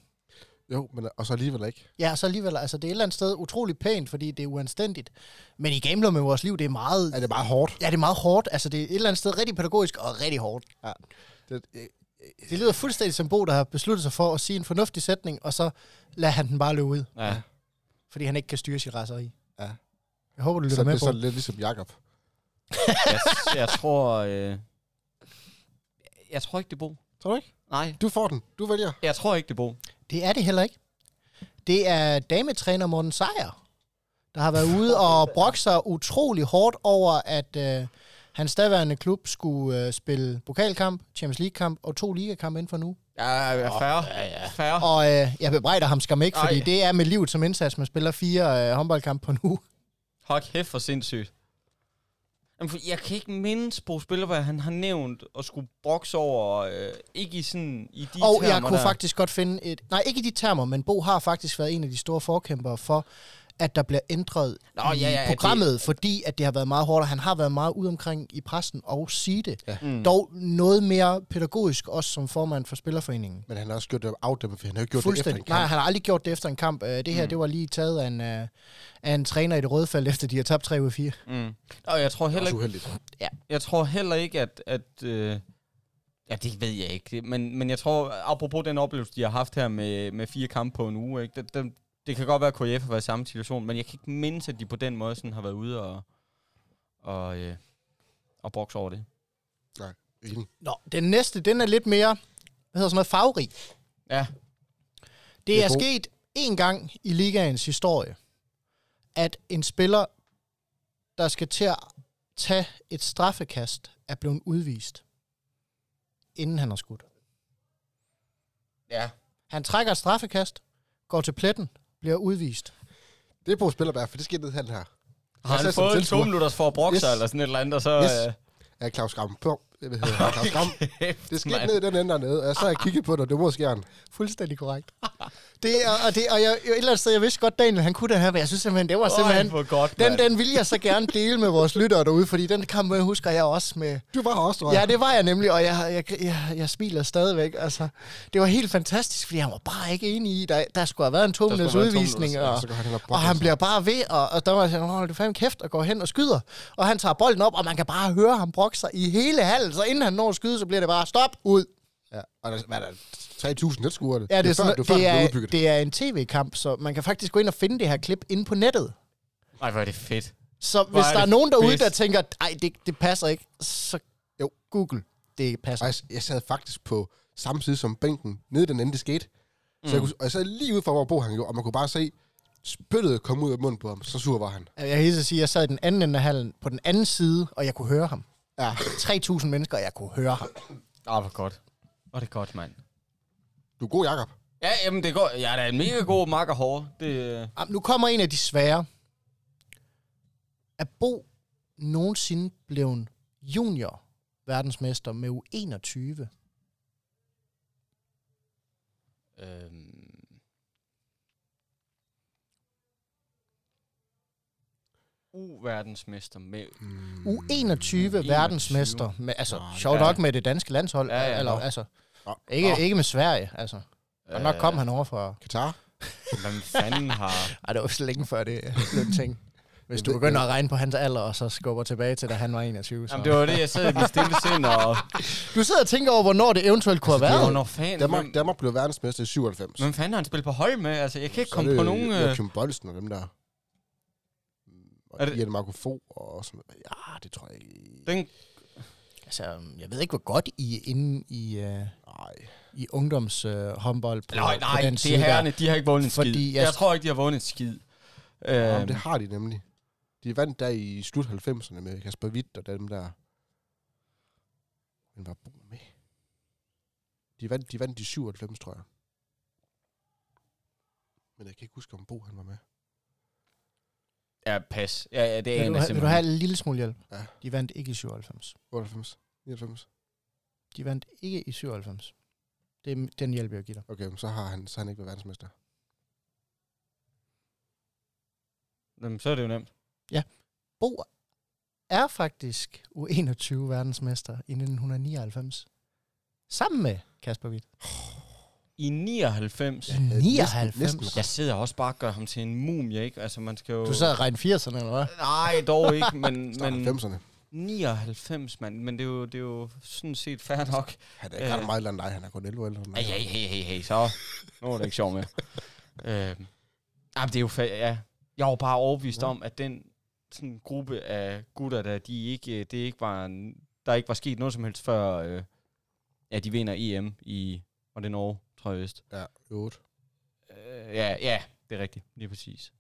A: Jo, men og så alligevel ikke.
B: Ja, så alligevel, altså det er et eller andet sted utrolig pænt, fordi det er uanstændigt. Men i gambler med vores liv, det er meget,
A: Er det bare hårdt?
B: ja, det er meget hårdt. Altså det er et eller andet sted rigtig pædagogisk og rigtig hårdt.
A: Det, øh,
B: Det lyder fuldstændig som Bo, der har besluttet sig for at sige en fornuftig sætning, og så lader han den bare løbe ud,
C: Ja.
B: fordi han ikke kan styre sit raseri.
A: Ja.
B: Jeg håber, du
A: så
B: lytter
A: det
B: med
A: er
B: på.
A: sådan lidt ligesom Jakob.
C: Jeg, jeg tror... Øh, jeg tror ikke, det er Bo.
A: Tror du ikke?
C: Nej,
A: Du får den. Du vælger.
C: jeg tror ikke, det er Bo.
B: Det er det heller ikke. Det er dametræner Morten Sejer, der har været ude og brokke sig utrolig hårdt over, at øh, hans daværende klub skulle øh, spille pokalkamp, Champions League-kamp og to ligakampe inden for nu.
C: Ja, ja, færre. Ja, ja. Færre.
B: Og øh, jeg bebrejder ham skam ikke, fordi
C: Ej.
B: det er med livet som indsats. Man spiller fire øh, håndboldkampe på en uge.
C: Hold kæft, for sindssygt. Jamen, for jeg kan ikke mindes Bo Spillerberg, han har nævnt at skulle brokse over, øh, ikke i sådan, i de
B: Og jeg
C: termer
B: kunne
C: der.
B: faktisk godt finde et... Nej, ikke i de termer, men Bo har faktisk været en af de store forkæmpere for, at der bliver ændret Nå, i ja, ja,
C: at
B: programmet, det... fordi at det har været meget hårdt, og han har været meget ude omkring i pressen og sige det. Ja. Mm. Dog noget mere pædagogisk, også som formand for Spillerforeningen.
A: Men han har også gjort det afdæmpet, for han har jo ikke gjort det efter en
B: Fuldstændig.
A: kamp.
B: Nej, han har aldrig gjort det efter en kamp. Øh, Det her, mm. det var lige taget af en, øh, af en træner i det røde felt, efter de har tabt 3 ud af 4.
C: Mm. Og jeg tror
A: Det er
C: heller
A: også
C: ikke,
A: uheldigt.
C: jeg tror heller ikke at... at øh, ja, det ved jeg ikke. Det- Men, men jeg tror, apropos den oplevelse, de har haft her med, med fire kampe på en uge, ikke? Det, det, det kan godt være, at KF har været i samme situation, men jeg kan ikke mindes, at de på den måde sådan har været ude og, og, øh, og brokse over det.
A: Enig.
B: Nå, den næste, den er lidt mere, hvad hedder sådan noget, farverig.
C: Ja.
B: Det
A: Det
B: er,
A: er
B: er
A: god.
B: sket en gang i ligaens historie, at en spiller, der skal til at tage et straffekast, er blevet udvist, inden han har skudt.
C: Ja.
B: Han trækker et straffekast, går til pletten, bliver udvist.
A: Det er på Spillerberg, for det skete ned han her.
C: Har
A: Jeg
C: han
A: ser som
C: fået
A: tilskuer.
C: to minutter for at brokke sig,
A: Yes.
C: eller sådan et eller andet, og så...
A: Yes.
C: Øh,
A: Ja, Claus Gram. På, det hedder han, Claus Gram.
C: Kæft,
A: Det skete
C: mand.
A: ned i den ende dernede, og jeg sad og kiggede på det, og det var skjern.
B: Fuldstændig korrekt. Det, og, og, det, og jeg, et eller andet sted, jeg vidste godt, Daniel, han kunne det her, men jeg synes simpelthen, det var
C: Øj,
B: simpelthen...
C: hvor godt,
B: den,
C: mand.
B: den ville jeg så gerne dele med vores lyttere derude, fordi den kamp jeg husker jeg også med...
A: Du var her også, tror jeg.
B: Ja, det var jeg nemlig, og jeg, jeg, jeg, jeg smiler stadigvæk. Altså, det var helt fantastisk, fordi han var bare ikke enig i, der, der skulle have været en to
C: Der skulle
B: minutters
C: have været to
B: udvisning,
C: minutters,
A: ja,
B: og,
A: så går han hen og brokker
B: og han
A: sig.
B: bliver bare ved, og, og der var sådan, hold du fandme kæft, og går hen og skyder. Og han tager bolden op, og man kan bare høre ham brokke sig i hele hallen, så inden han når at skyde, så bliver det bare stop, ud.
A: Ja. Og der, hvad er der? 3.000 tilskuere.
B: Ja, det, er
A: før,
B: sådan,
A: før,
B: det,
A: blev
B: er,
A: udbygget.
B: det er en tv-kamp, så man kan faktisk gå ind og finde det her klip inde på nettet.
C: Ej, hvor er det fedt.
B: Så Hvor
C: Hvor
B: hvis
C: er
B: der er
C: det
B: nogen derude,
C: fedt.
B: der tænker, nej, det, det passer ikke, så jo, Google, det passer.
A: Faktisk, jeg sad faktisk på samme side som bænken, nede i den ende, det skete. Så
B: Mm.
A: jeg kunne, og jeg sad lige ude for, hvor Bo han gjorde, og man kunne bare se spyttet komme ud af munden på ham. Så sur var han.
B: Jeg hilser at sige, at jeg sad i den anden ende af hallen på den anden side, og jeg kunne høre ham.
A: Ja.
B: 3.000 mennesker, og jeg kunne høre ham.
C: Ej, hvor godt. Hvor er det godt, mand.
A: Du er god, Jacob.
C: Ja, jamen det går. Jeg er da en mega god makker hård. Det, øh,
B: Jamen, nu kommer en af de svære. Er Bo nogensinde blevet junior verdensmester med U21?
C: øh, U-verdensmester med...
A: Mm.
B: U21 verdensmester. Med, altså,
C: Nå,
B: sjovt
C: ja.
B: nok med det danske landshold.
C: Ja, ja,
B: eller,
C: nå.
B: altså,
A: Nå.
B: ikke,
C: Nå.
B: ikke med Sverige, altså. Og nok kom han over for...
A: Katar.
C: Øh, Hvem fanden har...
B: Ej, det var så længe før det blev en ting. Hvis
A: Jeg
B: du
A: ved-
B: begynder at regne på hans alder, og så skubber tilbage til, da han var 21. Så.
C: Jamen det var det, jeg sad i mit stille sind og...
B: Du sidder og tænker over, hvornår Altså, det eventuelt kunne have været.
C: Hvornår fanden...
A: Danmark,
C: hvem,
A: Danmark blev verdensmester i 97.
C: hvem fanden har han spillet på hold med? Altså, jeg kan ikke
A: Så
C: komme
A: er
C: på
A: det
C: nogen... Øh,
A: Joachim Bolsen og dem der.
C: Er
A: Og
C: det- Øhm.
A: Ian Marco Fo og sådan noget. Ja, det tror jeg ikke.
C: øh, den,
B: Altså, jeg ved ikke, hvor godt I er inde i, øh,
A: Nej.
B: i ungdomshåndbold øh, på,
C: nej,
B: på
C: nej,
B: den
C: det
B: side
C: er
B: der.
C: herrene, de har ikke vundet en skid.
B: Fordi
C: Jeg,
B: jeg-
C: jeg tror ikke, de har vundet en skid.
A: Jamen,
C: Øhm,
A: det har de nemlig. De vandt der i slut 90'erne med Kasper Witt og dem der. Men var Bo med? De vandt, de vandt i 97, tror jeg. Men jeg kan ikke huske, om Bo han var med.
C: Ja, pas. Ja, ja det er
B: Vil du,
C: en
B: have, vil du have en lille smule hjælp?
A: Ja.
B: De vandt ikke i 97.
A: 98? 99?
B: De vandt ikke i 97. Det er den hjælp, jeg giver dig.
A: Okay, men så har han, så har han ikke været verdensmester.
C: Jamen, så er det jo nemt.
B: Bo er faktisk U21 verdensmester i 1999. Sammen med Kasper Witt.
C: I 99.
B: Ja,
C: Ja.
A: næsten-
B: 99?
A: næsten
C: Jeg sidder også bare og gør ham til en mumie, ikke? Altså, man skal jo...
B: Du sad og regnede 80'erne, eller hvad?
C: Nej, dog ikke, men,
A: Start
C: men
A: 90'erne.
C: 99, mand. Men det er, jo, det er jo sådan set fair nok.
A: Han er ikke
C: Øh.
A: ret meget ældre end dig. Han er kun 11 år ældre end mig.
C: Ej, hey, hey, hey, hey, så. Nu er det ikke sjovt mere. øhm. Jamen, det er jo fa- ja. Jeg var bare overbevist ja. om, at den sådan gruppe af gutter, der, de ikke, øh, det ikke var, en- der ikke var sket noget som helst før, øh, ja, de vinder EM i, og det er Norge, tror jeg vist.
A: Ja, 8.
C: Øh, ja, ja, det er rigtigt. Lige præcis.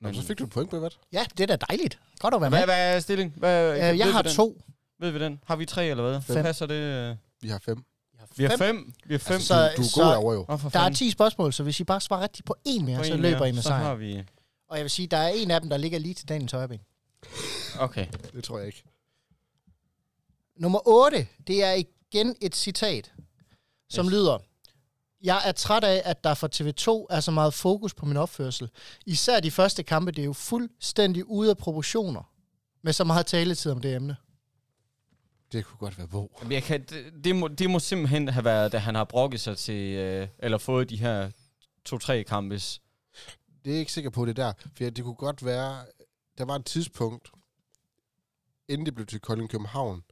A: Men så fik du et point på, hvad?
B: Ja, det er da dejligt. Godt at være med.
C: Hvad, hvad er stilling? Hvad,
B: Øh,
C: ved
B: jeg
C: vi
B: har
C: den?
B: to.
C: Ved vi den? Har vi tre eller hvad?
B: Fem.
C: Passer det? øh?
A: Vi har 5.
B: har
C: Vi har
B: fem.
C: fem. Vi har fem.
B: Altså,
A: Du, du er
B: så-
A: god
B: så-
A: derovre jo.
C: oh, for
B: Der er
C: fanden.
B: 10 spørgsmål, så hvis I bare svarer rigtigt på en mere,
C: På
B: så
C: en
B: løber
C: mere.
B: I med
C: Så har
B: sejren.
C: vi...
B: Og jeg vil sige, der er en af dem, der ligger lige til Daniels højre ben.
C: Okay.
A: Det tror jeg ikke.
B: Nummer 8, det er igen et citat, som
C: Yes.
B: yes. lyder, Jeg er træt af, at der fra TV2 er så meget fokus på min opførsel. Især de første kampe, det er jo fuldstændig ude af proportioner med så meget taletid om det emne.
A: Det kunne godt være Bo.
C: Jamen, Jeg kan, det, det, må, det må simpelthen have været, da han har brokket sig til, øh, eller fået de her to-tre kampes.
A: Det er jeg ikke sikker på, det der. For det kunne godt være, der var et tidspunkt, inden det blev til Kolding København,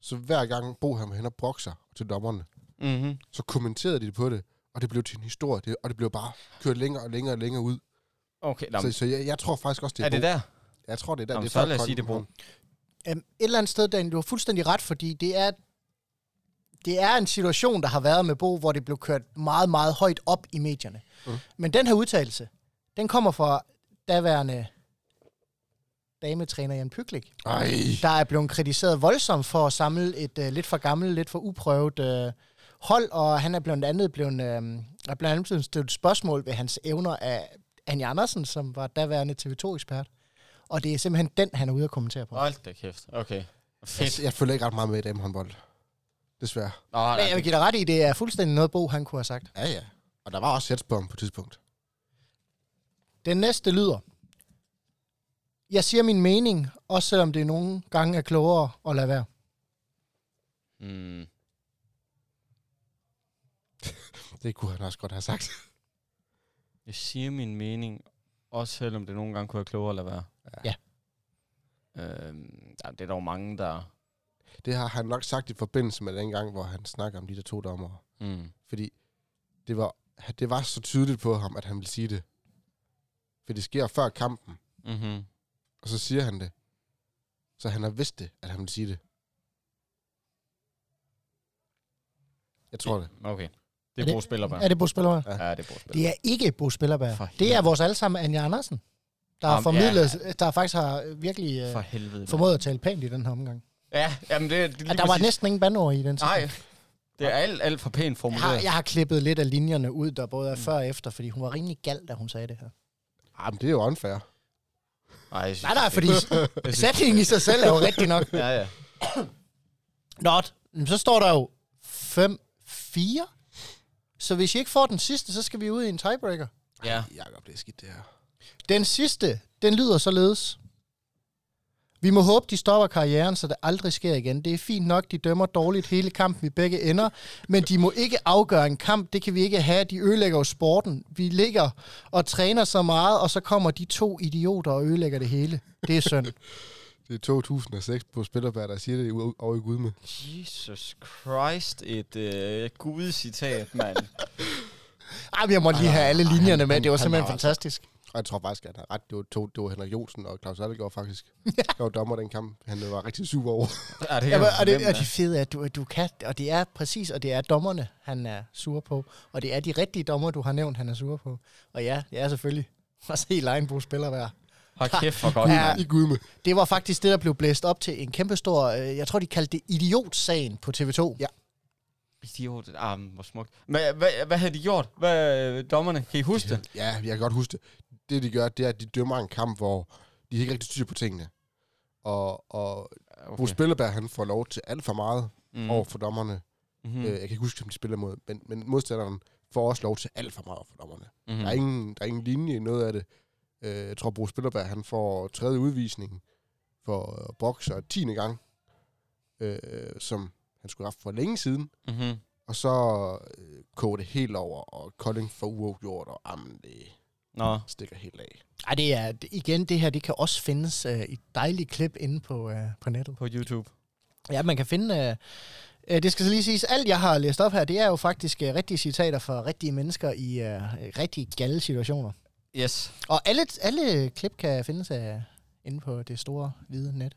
A: så hver gang Bo han var hen og brokser til dommerne,
C: Mm-hmm.
A: så kommenterede de på det, og det blev til en historie, det, og det blev bare kørt længere og længere og længere ud.
C: Okay, nå,
A: Så,
C: men
A: så jeg, jeg, tror faktisk også, det er,
C: er det
A: Bo.
C: der?
A: Jeg tror, det er der.
C: Jamen,
A: det er
C: så
A: før
C: lad os
A: Kolding
C: sige, det er Bo.
A: København.
B: Um, et eller andet sted, Daniel, du har fuldstændig ret, fordi det er, det er en situation, der har været med Bo, hvor det blev kørt meget, meget højt op i medierne.
A: Mm.
B: Mm. Men den her udtalelse, den kommer fra daværende dametræner Jan Pyklik.
A: Ej,
B: der er blevet kritiseret voldsomt for at samle et øh, lidt for gammelt, lidt for uprøvet øh, hold, og han er blandt andet blevet, øh, er blandt andet blevet stillet spørgsmål ved hans evner af Anja Andersen, som var daværende TV2-ekspert. Og det er simpelthen den, han er ude at kommentere på. Nej,
C: Hold da kæft. Okay. Fedt.
A: jeg, jeg følger ikke ret meget med i damehåndbold. Desværre.
C: Nå, altså, nej,
B: jeg vil give dig ret i, det er fuldstændig noget, Bo han kunne have sagt.
A: Ja, ja. Og der var også sætspåm på et tidspunkt.
B: Den næste lyder. Jeg siger min mening, også selvom det nogle gange er klogere at lade være.
C: Mm.
A: Det kunne han også godt have sagt.
C: Jeg siger min mening, også selvom det nogle gange kunne være klogere eller være.
B: Ja.
C: Øhm, der, det er dog mange, der...
A: Det har han nok sagt i forbindelse med den gang, hvor han snakker om de der to dommer.
C: Mm.
A: Fordi det var, det var så tydeligt på ham, at han ville sige det. For det sker før kampen,
C: Mm-hmm.
A: og så siger han det. Så han har vidst det, at han ville sige det. Jeg tror det.
C: Okay.
B: Er
C: Det er
B: det-
C: Bo Spillerbær.
B: Er det Bo Spillerberg?
C: Ja, det er Bo Spillerbær.
B: Det er ikke Bo Spillerberg.
C: For
B: Det er
C: helvede.
B: vores allesammen Anja Andersen, der har
C: Jamen,
B: formidlet, der faktisk har øh, virkelig øh,
C: For helvede. mand.
B: formået at tale pænt i den her omgang.
C: Ja, jamen det, det er lige
B: Ja, der var
C: præcis-
B: næsten ingen bandord i den.
C: Nej, det er alt, alt for pænt
B: Jeg
C: formuleret.
B: har, jeg har klippet lidt af linjerne ud, der både er
C: Mm.
B: før og efter, fordi hun var rimelig gal, da hun sagde det her.
A: Ah, men det er jo unfair.
C: Nej, jeg synes,
B: Nej, nej,
C: det er
B: fordi
C: fedt. Jeg synes-
B: sætningen i sig selv er jo rigtig nok.
C: Ja, ja.
B: Not. Men så står der jo 5-4. Så hvis I ikke får den sidste, så skal vi ud i en tiebreaker.
C: ja.
A: Jakob, det er skidt det her.
B: Den sidste, den lyder således. Vi må håbe, de stopper karrieren, så det aldrig sker igen. Det er fint nok, de dømmer dårligt hele kampen i begge ender, men de må ikke afgøre en kamp. Det kan vi ikke have. De ødelægger jo sporten. Vi ligger og træner så meget, og så kommer de to idioter og ødelægger det hele. Det er synd.
A: Det er 2006 på Spillerberg, der siger det ude- over i Gudme.
C: Jesus Christ, et øh, gudcitat, mand.
B: Ej, men jeg må lige have alle linjerne med. Det var simpelthen fantastisk.
A: Og jeg tror faktisk, at han har ret. Det var, to, det var Henrik Jonsen og Claus Allegård faktisk. Der var dommer den kamp. Han var rigtig super over.
C: Ja, det
B: Ja, men,
C: kan jeg
B: og, det,
C: fornemme,
B: og de fede er, at du, du kan, og det er præcis, og det er dommerne, han er sur på. Og det er de rigtige dommer, du har nævnt, han er sur på. Og ja, det er selvfølgelig også helt egen brug spiller være.
C: da. Hold kæft, hvor godt,
B: Ja.
C: mand.
A: I Gudme.
B: Det var faktisk det, der blev blæst op til en kæmpestor, øh, jeg tror, de kaldte det idiotsagen på TV2. Ja.
C: Idiot, ah, men hvor smukt. Hvad, hvad, hvad havde de gjort? Hvad, øh, dommerne, kan I huske det?
A: Ja, jeg kan godt huske det. Det, de gør, det er, at de dømmer en kamp, hvor de ikke rigtig styr på tingene. Og, og okay. Bo Spillerberg, han får lov til alt for meget mm. over for dommerne. Mm.
C: Mm-hmm.
A: Øh, jeg kan ikke huske, hvem de spiller mod, men, men modstanderen får også lov til alt for meget over for dommerne. Mm.
C: Mhm.
A: Der, er ingen, der er ingen linje i noget af det. Øh, jeg tror, Bo Spillerberg, han får tredje udvisning for øh, bokser tiende gang, øh, som han skulle have haft for længe siden.
C: Mm-hmm.
A: Og så øh, koger det helt over, og Kolding får uafgjort, og jamen, det
C: Nå,
A: stikker helt af.
B: Ej, det er, igen, det her, det kan også findes øh, i et dejligt klip inde på, øh, på nettet.
C: på YouTube.
B: Ja, man kan finde... Øh, øh, det skal så lige siges, alt jeg har læst op her, det er jo faktisk øh, rigtige citater fra rigtige mennesker i øh, rigtige galde situationer.
C: Yes.
B: Og alle, alle klip kan findes af, inde på det store hvide net.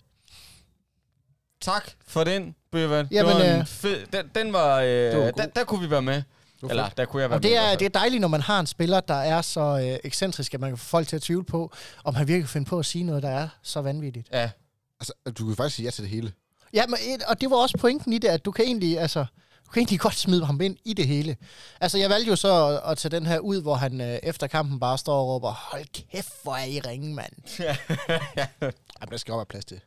C: Tak for den, Bøvan.
B: Jamen,
C: det var en
B: øh,
C: fed, den, den var, øh,
A: var god.
C: der, der kunne vi være med.
A: var
C: Eller, der kunne jeg være
B: Og det
C: med. i
B: er,
C: hvert
B: det er dejligt, når man har en spiller, der er så øh, ekscentrisk, at man kan få folk til at tvivle på, om han virkelig kan finde på at sige noget, der er så vanvittigt. øh,
C: fald. Ja,
A: Altså, du kan faktisk sige ja til det hele.
B: Ja, men, et- og det var også pointen i det, at du kan egentlig, altså, Du kan egentlig godt smide ham ind i det hele. Altså, jeg valgte jo så at, at tage den her ud, hvor han øh, efter kampen bare står og råber, hold kæft, hvor er I ringe, mand.
A: Jamen, der skal også være plads til.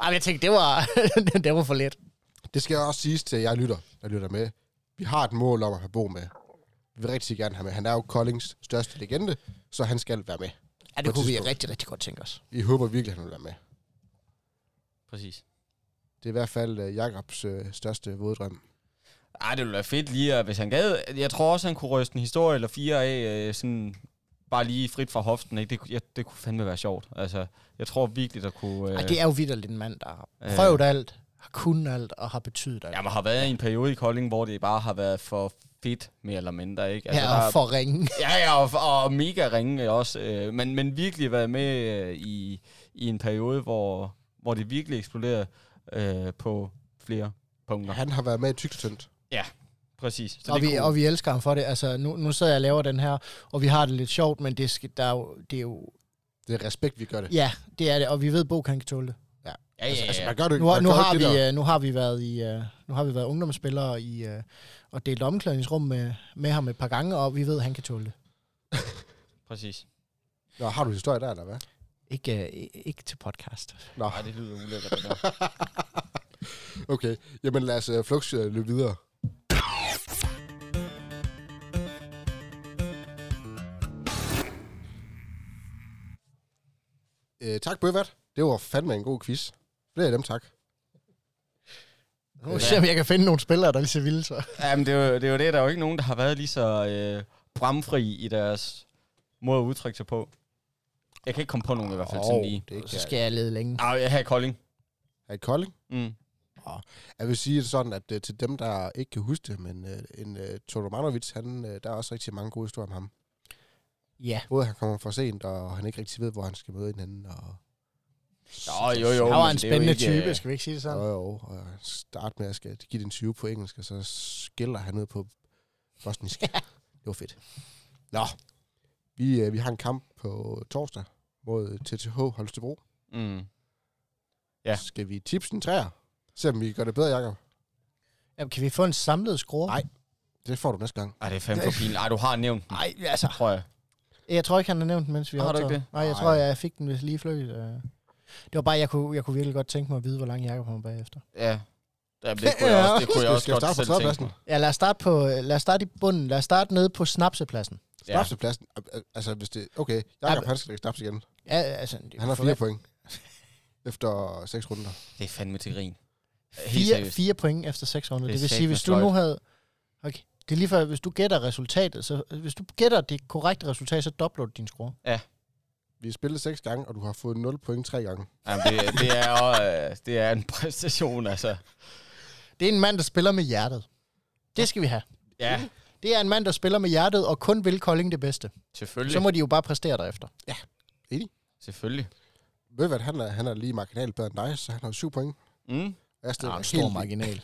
B: Ej, men jeg tænkte, det var, det var for let.
A: Det skal jeg også sige til jer lytter, der lytter med. Vi har et mål om at have Bo med. Vi vil rigtig gerne have med. Han er jo Koldings største legende, så han skal være med. På
B: Ja, det
A: et
B: kunne vi
A: tidspunkt.
B: rigtig, rigtig godt tænke os.
A: Vi håber virkelig, at han vil være med.
C: Præcis.
A: Det er i hvert fald uh, Jakobs uh, største våddrøm.
C: Ej, det ville være fedt lige, at- hvis han gad. Jeg tror også, han kunne ryste en historie eller fire af, øh, sådan bare lige frit fra hoften. Ikke? Det, kunne- jeg, det kunne fandme være sjovt. Altså, jeg tror virkelig, der kunne... Øh,
B: Ej, det er jo vidderligt en mand, der har
C: Øh.
B: prøvet alt, har kunnet alt og har betydet alt.
C: Jamen, har været i en periode i Kolding, hvor det bare har været for fedt, mere eller mindre, ikke?
B: Altså,
C: der,
B: her og for ringen.
C: Ja, ja, og, og mega ringe også. Øh, men, men virkelig været med øh, i, i en periode, hvor, hvor det virkelig eksploderede øh, på flere punkter.
A: Han har været med i tykt og tyndt.
C: Præcis. Så
B: Og
C: det
B: vi,
C: kunne-
B: og vi elsker ham for det. Altså, nu, nu sidder jeg og laver den her, og vi har det lidt sjovt, men det, skal, der er jo, det er jo...
A: Det er respekt, vi gør det.
B: Ja, det er det, og vi ved, Bo kan ikke tåle det.
C: ja, ja, ja.
A: Altså, man gør det,
B: Nu, har-
A: man
B: nu,
A: gør
B: har
A: ikke det
B: vi,
A: der.
B: øh, nu har vi været i øh, nu har vi været ungdomsspillere i øh, og delt omklædningsrum med, med ham et par gange, og vi ved, at han kan tåle det.
C: præcis.
A: Nå, har du historie der, eller hvad?
B: Ikke, øh, i- ikke til podcast.
C: Ej, det lyder ulækkert. det der.
A: Okay, jamen lad os uh, flux uh, løbe videre. Øh, tak, Bøvat. Det var fandme en god quiz. Flere af dem, tak.
B: Nu ser jeg, om jeg kan finde nogle spillere, der er lige så vilde. Så.
C: Jamen, det er, jo, det er jo det. Der er jo ikke nogen, der har været lige så øh, bramfri i deres måde at udtrykke sig på. Jeg kan ikke komme på nogen i hvert fald, sådan lige.
A: det
B: øh, så
A: kan
B: skal jeg lede længe.
C: Ej, jeg har Kolding.
A: Er det Kolding?
C: Mm.
A: Jeg vil sige det sådan, at uh, til dem, der ikke kan huske det, men uh, en uh, Tolomanovits, han, uh, der er også rigtig mange gode historier om ham.
B: Ja.
A: Både han kommer for sent, og han ikke rigtig ved, hvor han skal møde hinanden, og
C: Nå, jo, jo.
B: Han var
C: men
B: en
C: det er jo
B: spændende
C: ikke, øh,
B: type, skal vi ikke sige det sådan?
A: Jo, jo, og starte med at skal give den 20 på engelsk, og så skiller han ud på bosnisk. det var fedt. Nå, vi, øh, vi har en kamp på torsdag mod TTH Holstebro.
C: Mm.
A: Ja.
C: Ja.
A: Skal vi tipse en træer? Se om vi gør det bedre, Jacob.
B: Jamen, kan vi få en samlet skrue?
A: Nej. Det får du næste gang.
C: Ej, det er fandme for pinligt. Ej, du har nævnt den,
B: Nej, altså.
C: tror jeg.
B: Jeg tror ikke, han har nævnt den, mens vi
C: Har du
B: optager.
C: ikke det?
B: Nej, jeg
A: Nej.
B: tror, jeg fik den hvis lige fløjt. øh. Det var bare, jeg kunne, jeg kunne virkelig godt tænke mig at vide, hvor lang Jakob har bagefter.
C: Ja. Jamen, det kunne jeg
B: Ja.
C: også, det kunne
A: Skal-
C: jeg også
A: skal vi starte
C: godt
A: på
C: selv tænke
A: tredjepladsen?
C: mig.
B: Ja, lad os starte, på, lad os starte i bunden. Lad os starte nede på Snapsepladsen.
C: Ja.
A: Snapsepladsen. Ja. Altså, hvis det... Okay, Jacob,
B: Jamen-
A: han skal ikke snaps igen.
B: Ja, altså, det
A: Han har
B: for-
A: fire point. Efter seks runder.
C: Det er fandme til grin. Helt
B: fire,
C: seriøst.
B: fire point efter seks runder.
C: Det er
B: Det, vil sige,
C: satme
B: hvis du
C: sløjt.
B: nu havde... Okay, det er lige før, hvis du gætter resultatet, så hvis du gætter det korrekte resultat, så dobler du din score.
A: Vi har spillet seks gange, og du har fået 0 point tre gange.
C: Jamen, det, det, er, også, øh, det er en præstation, altså.
B: Det er en mand, der spiller med hjertet. Det skal vi have.
C: Ja,
B: Det er en mand, der spiller med hjertet, og kun vil Kolding det bedste.
C: selvfølgelig.
B: Så må de jo bare præstere derefter.
C: Selvfølgelig.
A: Ved du hvad, han er, han er lige marginalt bedre end dig, så han har syv point.
C: Mm.
A: Jeg
B: Det
A: stikker
B: er en stor
A: helt vildt.
B: marginal.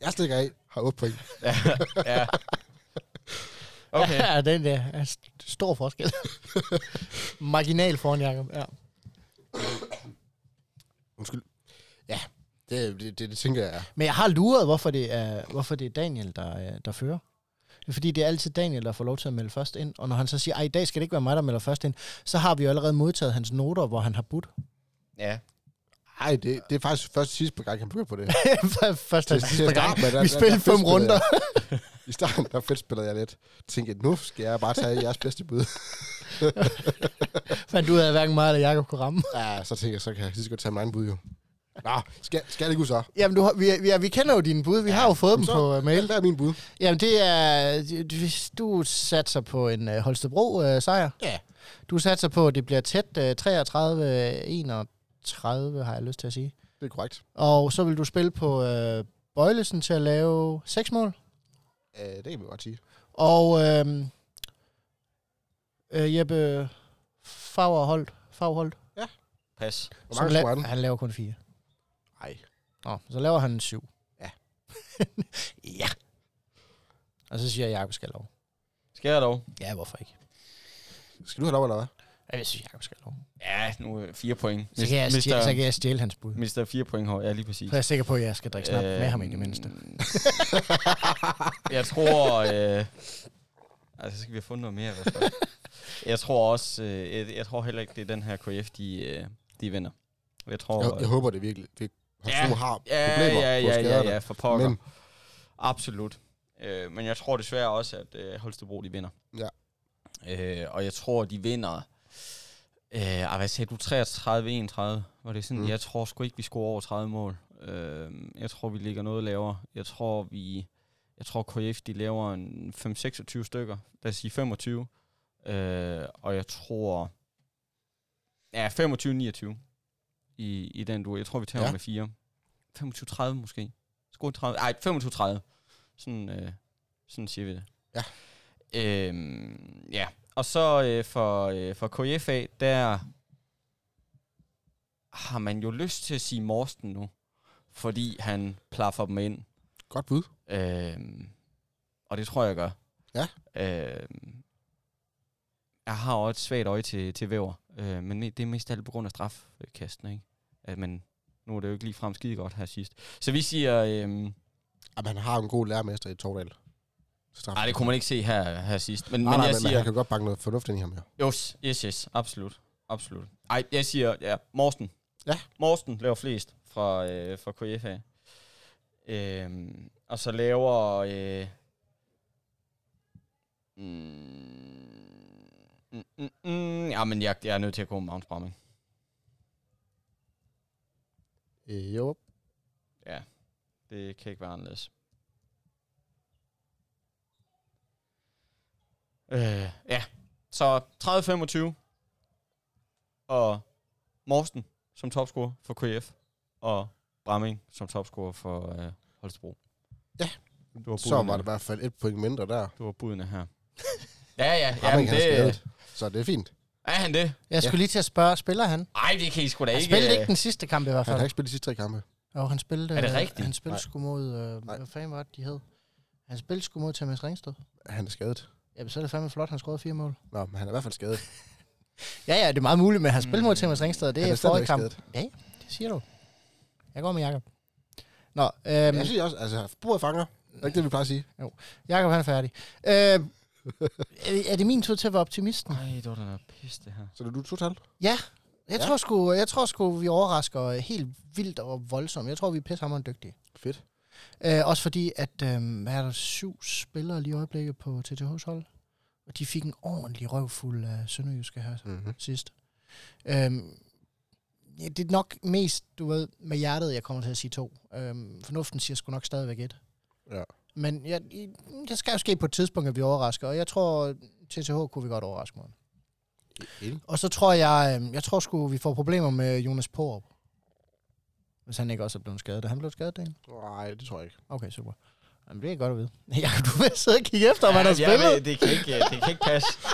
A: Jeg stikker af, har 8 point.
C: Ja. ja.
B: Okay.
C: Okay.
B: Ja, den der er st- stor forskel. Marginal foran Jacob. Ja.
A: Undskyld. Ja, det, det, det, det tænker jeg er.
B: Men jeg har luret, hvorfor det er, hvorfor det er Daniel, der, øh, der fører. Det er fordi, det er altid Daniel, der får lov til at melde først ind. Og når han så siger, at i dag skal det ikke være mig, der melder først ind, så har vi jo allerede modtaget hans noter, hvor han har budt.
C: Ja.
A: Ej, det, det er faktisk først sidste par gange, han begyndte på det.
B: først
A: Til-
B: han
A: til
B: sidste
A: at
B: gang.
A: starte med, der-
B: Vi
A: der-
B: spillede
A: der fedt
B: fem runder.
A: jeg. I starten, der fedt spillede jeg lidt. Tænkte, jeg, nu skal jeg bare tage jeres bedste bud.
B: Fandt du ud af, at hverken mig eller Jacob kunne ramme.
A: ja, så tænkte jeg, så kan jeg lige så godt tage min egen bud jo. Nå, skal, skal jeg ikke ud så?
B: Jamen, du, har- vi, vi, vi kender jo dine bud. Vi ja, har jo fået dem
A: så-
B: på uh, mail.
A: Hvad er min bud?
B: Jamen, det er... Hvis du satser på en uh, Holstebro-sejr.
A: Ja.
B: Du satser på, at det bliver tæt uh, 33-31, har jeg lyst til at sige.
A: Det er korrekt.
B: Og så vil du spille på øh, Bøjlesen til at lave seks mål.
A: Øh, det kan vi godt sige.
B: Og øh, øh, Jeppe Fagerholt, Fagerholt
C: Pas.
A: Hvor
B: som
A: mange
B: la-
A: skulle han?
B: han laver kun fire.
A: Nej.
B: Nå, så laver han en syv.
A: Ja.
B: ja. Og så siger jeg, at Jacob skal lov.
C: Skal jeg dog?
B: Ja, hvorfor ikke?
A: Skal du have lov, eller hvad?
B: Ja, jeg synes, Jacob skal have lov.
C: Ja, nu er fire point.
B: Så kan, jeg stjæle, så kan
C: Mister,
B: jeg stjæle hans bud.
C: mister Øhm, fire point her, ja lige præcis. Øh,
B: Så er jeg sikker på, at jeg skal drikke snap med ham i det mindste.
C: jeg tror... Øh, altså, så skal vi have fundet noget mere i hvert fald. Jeg tror også... Øh, jeg, jeg tror heller ikke, det er den her KF, de, øh, de vinder. Jeg tror... øh,
A: Jeg, jeg håber det virkelig. Det har, ja, har
C: ja,
A: problemer på
C: ja, ja, ja,
A: skaderne.
C: ja, for pokker.
A: Men-
C: Men. Absolut. Øh, men jeg tror desværre også, at øh, Holstebro, de vinder.
A: Ja.
C: Øh, og jeg tror, de vinder... Øh, ej, hvad sagde du? 33-31? Var det sådan?
A: Mm.
C: Mm. Jeg tror sgu ikke, vi scorer over 30 mål. Øh, jeg tror, vi ligger noget lavere. Jeg tror, vi... Jeg tror, KF, de laver en 5-26 stykker. Lad os sige 25. Øh, og jeg tror... Ja, 25-29 i, i den du. Jeg tror, vi tager
A: Ja.
C: ja. med 4. 25-30 måske. Skål 30. Ej, 25-30. Sådan, øh, sådan siger vi det.
A: Ja.
C: Øhm, ja. Og så øh, for, øh, for KFA, der har man jo lyst til at sige Morsten nu, fordi han plaffer dem ind.
A: Godt bud.
C: Øhm, og det tror jeg, jeg gør.
A: Ja.
C: Øhm, jeg har også et svagt øje til, til væver, øh, men det er mest alt på grund af strafkasten, ikke? At man, nu er det jo ikke ligefrem skide godt her sidst. Så vi siger, øhm,
A: Jamen, han har jo en god lærermester i Tordal. Straf.
C: nej, det kunne man ikke se her, her sidst, men,
A: nej,
C: men
A: nej,
C: jeg
A: men, men
C: siger,
A: han kan godt banke noget fornuft ind i ham her.
C: Yes, yes, yes. Absolut. Absolut. Ej, jeg siger, ja, Morsten.
A: Ja.
C: Morsten laver flest fra, øh, fra KFA. Øhm, og så laver... Øh, mm, mm, mm, mm, ja, men jeg, jeg er nødt til at gå med Magnus Bramming.
A: Øh, jo.
C: Ja, det kan ikke være anderledes. Øh, ja, så 30-25. Og Morsten som topscorer for KF. Og Bramming som topscorer for øh, Holstebro.
A: Ja,
C: det var
A: Så var
C: budene,
A: det i hvert fald et point mindre der.
C: det var budene her. ja, ja, ja,
A: Ramming,
C: men
A: han
C: det,
A: er skadet. Så det er fint.
C: er han det?
B: Jeg skulle lige til at spørge, spiller han?
C: Ej, det kan I sgu da
B: Han
C: ikke.
B: spillede ikke
C: øh,
B: den sidste kamp i hvert
A: Han
B: fald.
A: har ikke spillet de sidste tre kampe.
B: Og han spillede,
C: Er det
B: øh,
C: rigtigt?
B: Han spillede
A: Nej.
B: sgu mod, øh,
A: Nej.
B: hvad fanden var det, de hed? Han spillede sgu mod Thomas Ringsted.
A: Han er skadet.
B: Jamen, så er det fandme flot, han scorede fire mål.
A: Nå, men han er i hvert fald skadet.
B: Ja, ja, det er meget muligt, men han spillede mod
C: Mm.
B: Thomas Ringsted, og det
A: Han
B: er
A: er stadigvæk
B: forrige kamp.
A: skadet.
B: Ja, ja, det siger du. Jeg går med Jakob. Nå, øhm,
A: Men jeg synes også, altså, bordet fanger. Det er ikke det, vi plejer at sige.
B: Jakob han er færdig. Øh, er- er det min tur til at være optimisten?
C: Ej, det var da noget pis, det her.
A: Så det er du total.
B: Ja. Jeg,
A: Ja.
B: ja. Tror sgu, jeg tror sgu, vi overrasker helt vildt og voldsomt. Jeg tror, vi er pissehammerende dygtige.
A: Fedt.
B: Øh, også fordi, at øh, hvad er der syv spillere lige i øjeblikket på TTH's hold? Og de fik en ordentlig røvfuld af Sønderjyske her
A: Mm-hmm.
B: sidst. Øhm, ja, det er nok mest, du ved, med hjertet, jeg kommer til at sige to. Øhm, fornuften siger sgu nok stadigvæk et.
A: Ja.
B: Men jeg, i- det skal jo ske på et tidspunkt, at vi overrasker, og jeg tror, TTH kunne vi godt overraske mod. Og så tror jeg, øhm, jeg tror sgu, vi får problemer med Jonas Porup. Hvis han ikke også er blevet skadet. Er han blevet skadet, Daniel?
A: Nej, det tror jeg ikke.
B: Okay, super. Jamen, det er godt at vide. Jakob, du vil sidde og kigge efter, om han har
C: jeg ved,
B: spillet.
C: det, kan ikke, det kan ikke passe. Men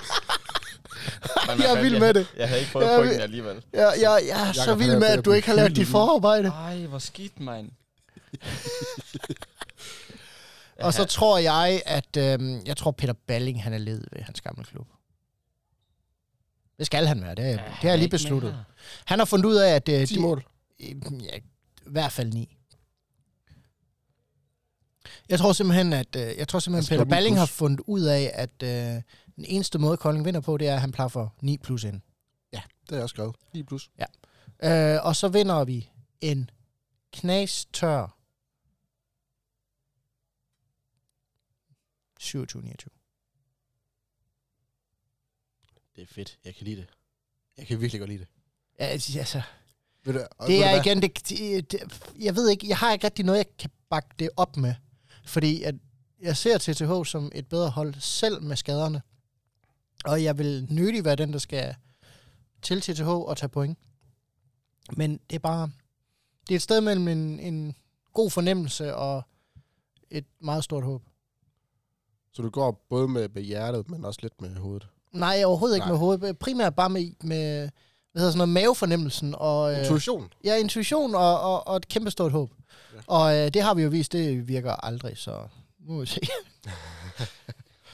B: Jeg er
C: hvad
B: vild
C: fanden,
B: med det.
C: Jeg havde ikke fået
B: Jeg er
C: pointen
B: vild-
C: alligevel.
B: Jeg, jeg, jeg er så
A: Jakob,
B: vild
A: han er
B: med,
A: bedre
B: at du ikke har lavet dit
A: politisk.
B: forarbejde.
C: Ej, hvor skidt, mand.
B: Og så tror jeg, at øhm, jeg tror Peter Balling, han er led ved hans gamle klub. Det skal han være, det, ja, det har jeg lige besluttet. Han har fundet ud af, at... Øh,
A: 10 mål.
B: Øh, ja, I hvert fald ni. Jeg tror simpelthen, at øh, jeg tror simpelthen,
A: Altså,
B: altså, Peter
A: det er ni
B: Balling
A: plus.
B: har fundet ud af, at øh, den eneste måde, Kolding vinder på, det er, at han plaffer 9 plus ind.
A: Det har jeg skrevet. 9 plus.
B: Øh, og så vinder vi en knastør 27-29.
A: Det er fedt. Jeg kan lide det. Jeg kan virkelig godt lide det.
B: Ja, altså,
A: Ved du, og ved
B: det
A: du
B: er
A: hvad?
B: igen, det, det, det, jeg ved ikke, jeg har ikke rigtig noget, jeg kan bakke det op med. Fordi at jeg ser TTH som et bedre hold, selv med skaderne. Og jeg vil nødig være den, der skal til TTH og tage point. Men det er bare, det er et sted mellem en, en god fornemmelse og et meget stort håb.
A: Så du går både med, med hjertet, men også lidt med hovedet.
B: Nej, overhovedet ikke
A: Nej.
B: med hovedet. Primært bare med, med hvad hedder sådan noget, mavefornemmelsen. Og, øh,
A: Intuition.
B: Ja, intuition og, og, og et kæmpestort håb.
A: Ja.
B: Ja. Og øh, det har vi jo vist, det virker aldrig, så nu må vi se.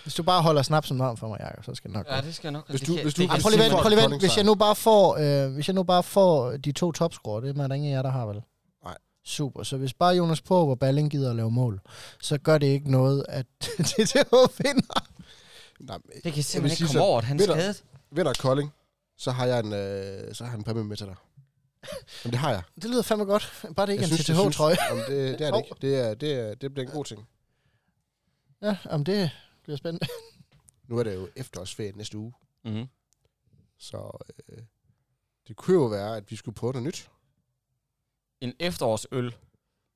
B: Hvis du bare holder snapsen varm for mig, Jacob, så skal det nok gå.
C: Ja, det skal jeg nok.
A: Hvis
C: det
A: du-
C: kan-
A: hvis du-
C: det kan
B: Ej,
A: jeg
B: prøv lige
A: sige,
B: vent,
A: folk
B: prøv lige vent.
A: Kolding
B: Hvis jeg nu bare får, øh, hvis jeg nu bare får de to topscorer, det er der ingen af jer, der har, vel?
A: Nej.
B: Super. Så hvis bare Jonas Poop og Balling gider at lave mål, så gør det ikke noget, at TTH vinder.
A: Nej, men
C: Det kan
A: vil
C: simpelthen
A: sige
C: ikke komme
A: så-
C: over, at han er
A: Ved du-
C: skadet.
A: vinder Kolding, så har jeg en, øh, så har jeg en præmie med til dig. Jamen, det har jeg.
B: Det lyder fandme godt. Bare det ikke er en
A: Jeg synes, jeg synes-
B: TTH-trøje.
A: Jamen, det, det er det ikke. Det, er, det, er, det bliver en god ting.
B: Ja, om det bliver spændende.
A: Nu er det jo efterårsferie næste uge,
C: Mm-hmm.
A: så øh, det kunne jo være, at vi skulle prøve noget nyt.
C: En efterårsøl.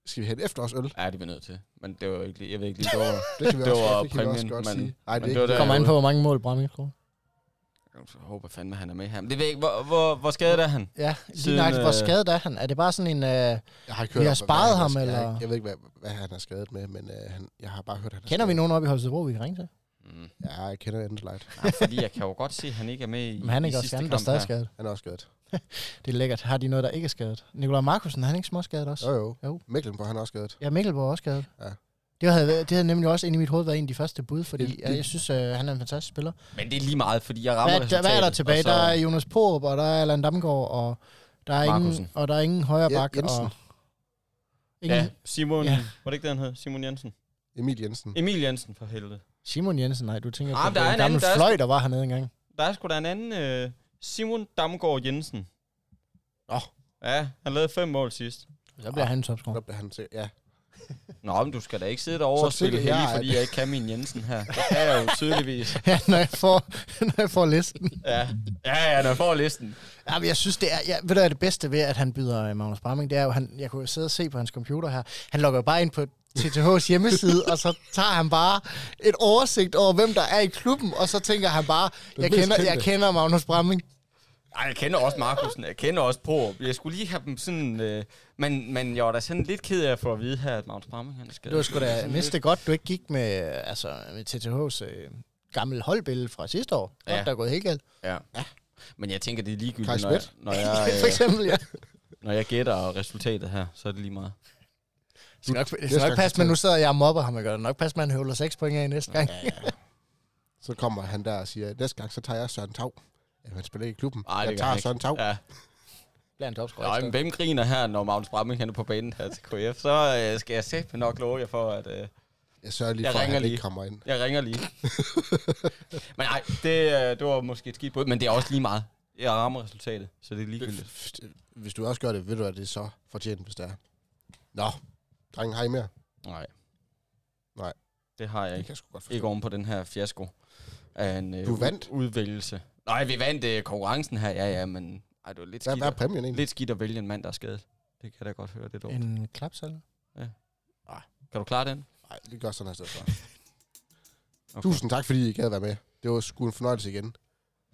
A: Skal vi have et efterårsøl?
C: Ja, det er vi nødt til. Men det var ikke lige, jeg ved ikke lige, det var...
A: Det kan vi
C: Det
A: også,
C: var
A: godt- det kan vi også
C: præmien,
A: godt
C: men-
A: sige. Nej, det,
C: men
A: er
C: det var
A: ikke-
C: der-
B: Kommer an på, hvor mange mål Bramming tror.
C: Jeg håber fandme, han er med her. Men det ved jeg ikke, hvor, hvor, hvor skadet er han?
B: Ja, lige
C: Siden,
B: nok. Hvor
C: øh,
B: skadet er han? Er det bare sådan en... Øh,
A: Jeg har ikke hørt om,
B: Vi har
A: hvad
B: sparet
A: han er
B: ham,
A: skadet- Jeg,
B: eller?
A: jeg ved ikke, hvad, hvad han er skadet med, men øh, han, jeg har bare hørt, at han er
B: kender vi
A: skadet.
B: nogen oppe i Holstebro, vi kan ringe til?
C: Mm.
A: Ja, jeg kender Anders Light.
C: Ja, fordi jeg kan jo godt se, at han ikke er med i,
B: Men han er
C: i
B: ikke også
C: sidste
B: skadet, der er
C: kamp
B: stadig
C: her.
B: skadet.
A: Han er også skadet.
B: Det er lækkert. Har de noget, der ikke er skadet? Nikolaj Markusen, han er ikke småskadet også?
A: Jo, jo.
B: Jo.
A: jo. Mecklenburg, han er også skadet.
B: Ja, Mikkelborg er også skadet.
A: Ja.
B: Det havde, været- det havde nemlig også inde i mit hoved været en af de første bud, fordi
A: Det-
B: det,
A: det-
B: det, jeg synes, øh, han er en fantastisk spiller.
C: Men det er lige meget, fordi jeg rammer
B: Hvad, der, hvad er der
C: resultatet,
B: tilbage?
C: og
B: Så... Der er Jonas Porup, og der er Allan Damgaard, og der er, ingen,
C: Markusen.
B: og der er ingen højre
A: Ja,
B: bak.
A: Jensen.
B: og ingen,
C: Ja,
B: ja.
C: Simon...
B: Ja.
C: Ja. Var det ikke det, han hed? Simon Jensen?
A: Emil Jensen.
C: Emil Jensen, for helvede.
B: Simon Jensen, nej, du tænker
C: Ah,
B: på
C: men der
B: der
C: er
B: en
C: en
B: gammel
C: anden, der er-
B: fløj, der var hernede engang.
C: Der er sgu da en anden... Øh, Simon Damgaard Jensen.
A: Nå.
C: Ja, han lavede fem mål sidst.
B: Så bliver
A: Ah.
B: han
A: Så
B: topscorer.
A: blev han til, ja.
C: Nå, men du skal da ikke sidde derovre
A: Så
C: og spille
A: tænker jeg,
C: heldig,
A: at-
C: fordi jeg ikke kan min Jensen her. Det kan jeg jo tydeligvis.
B: Ja, når jeg får, når jeg får listen.
C: Ja, ja, ja når jeg får listen.
B: Ja, men jeg synes, det er, jeg, ved du, hvad er det bedste ved, at han byder øh, Magnus Bramming, det er jo, han, jeg kunne jo sidde og se på hans computer her, han logger jo bare ind på TTH's hjemmeside, og så tager han bare et oversigt over, hvem der er i klubben, og så tænker han bare,
A: Den
B: jeg
A: mest
B: kender, jeg
A: kendte."
B: kender Magnus Bramming.
C: Ej, jeg kender også Markusen, jeg kender også på. Jeg skulle lige have dem sådan... Øh, men, men jeg var da sådan lidt ked af at få at vide her, at Magnus Bramming, han skal...
B: Det var sgu da næste godt, du ikke gik med, øh, altså, med TTH's øh, gamle holdbillede fra sidste år. Ja.
C: Ja.
B: Der er gået helt galt.
C: Ja. ja. Men jeg tænker, det er
A: Kai
C: ligegyldigt, når jeg,
A: Schmidt?
C: når, jeg,
B: For
C: øh,
B: eksempel, ja.
C: når jeg gætter resultatet her, så er det lige meget.
B: Det skal nok, det
A: næste
B: skal
A: gang
B: nok passe,
A: kan
B: men nu sidder jeg og mobber ham, jeg gør det nok passe, man høvler 6 point af næste gang.
A: Så kommer han der og siger, næste gang, så tager jeg Søren Tav. Ja, han spiller ikke i klubben.
C: Ej, det
A: jeg
C: gør
A: tager
C: han ikke.
A: Søren Tav. Ja.
C: Ja.
B: Bliver en topscorer.
C: Nå, men hvem griner her, når Magnus Bramming han er på banen her til KF? Så øh, skal jeg sætte nok love jer for, at øh,
A: Jeg sørger lige
C: Jeg
A: for, at
C: ringer
A: han ikke
C: lige.
A: kommer ind.
C: jeg ringer lige. men nej, det, øh, det var måske et skidt bud, men det er også lige meget. Jeg rammer resultatet, så det er ligegyldigt.
A: Hvis du også gør det, ved du, at det er så fortjent, hvis det er. Nå, drengen, har I mere?
C: Nej.
A: Nej.
C: Det har
A: Det
C: jeg
A: kan
C: ikke.
A: jeg sgu godt forstå.
C: Ikke oven på den her fiasko af en øh,
A: Du vandt?
C: u- udvælgelse. Nej, vi vandt øh, konkurrencen her, ja, ja, men ej, det var lidt
A: Hvad,
C: skidt,
A: hvad er
C: at,
A: præmien egentlig?
C: lidt skidt at vælge en mand, der er skadet. Det kan jeg da godt høre, det er dårligt.
B: En klapsalve.
C: Kan du klare den?
A: Nej, vi gør sådan her i stedet for.
C: Okay.
A: Tusind tak, fordi I gad være med. Det var sgu en fornøjelse igen.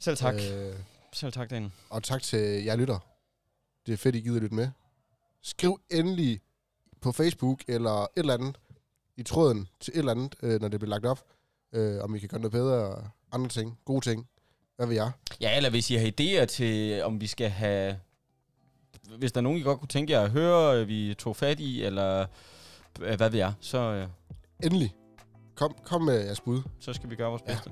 C: Selv tak. Øh.
A: Øh,
C: Selv tak, Daniel.
A: og tak til jer lytter. Det er fedt, I gider lytte med. Skriv endelig på Facebook eller et eller andet i tråden til et eller andet, øh, når det bliver lagt op. Øh, om vi kan gøre noget bedre og andre ting. Gode ting. Hvad ved jeg?
C: Ja, eller hvis I har idéer til, om vi skal have... Hvis der er nogen, I godt kunne tænke jer at høre, øh, vi tog fat i, eller øh, hvad ved jeg, så, øh,
A: Endelig. Kom, kom med jeres bud.
C: så skal vi gøre vores
A: Ja.
C: bedste.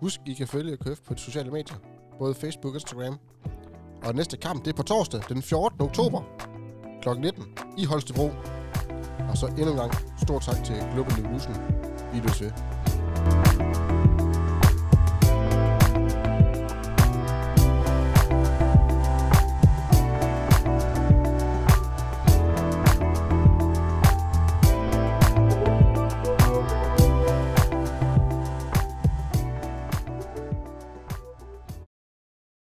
A: Husk, I kan følge KF på de sociale medier. Både Facebook og Instagram. Og næste kamp, det er på torsdag, den 14. oktober kl. 19 i Holstebro. Og så endnu en gang, stor tak til Global Evolution. Vi lyttes ved.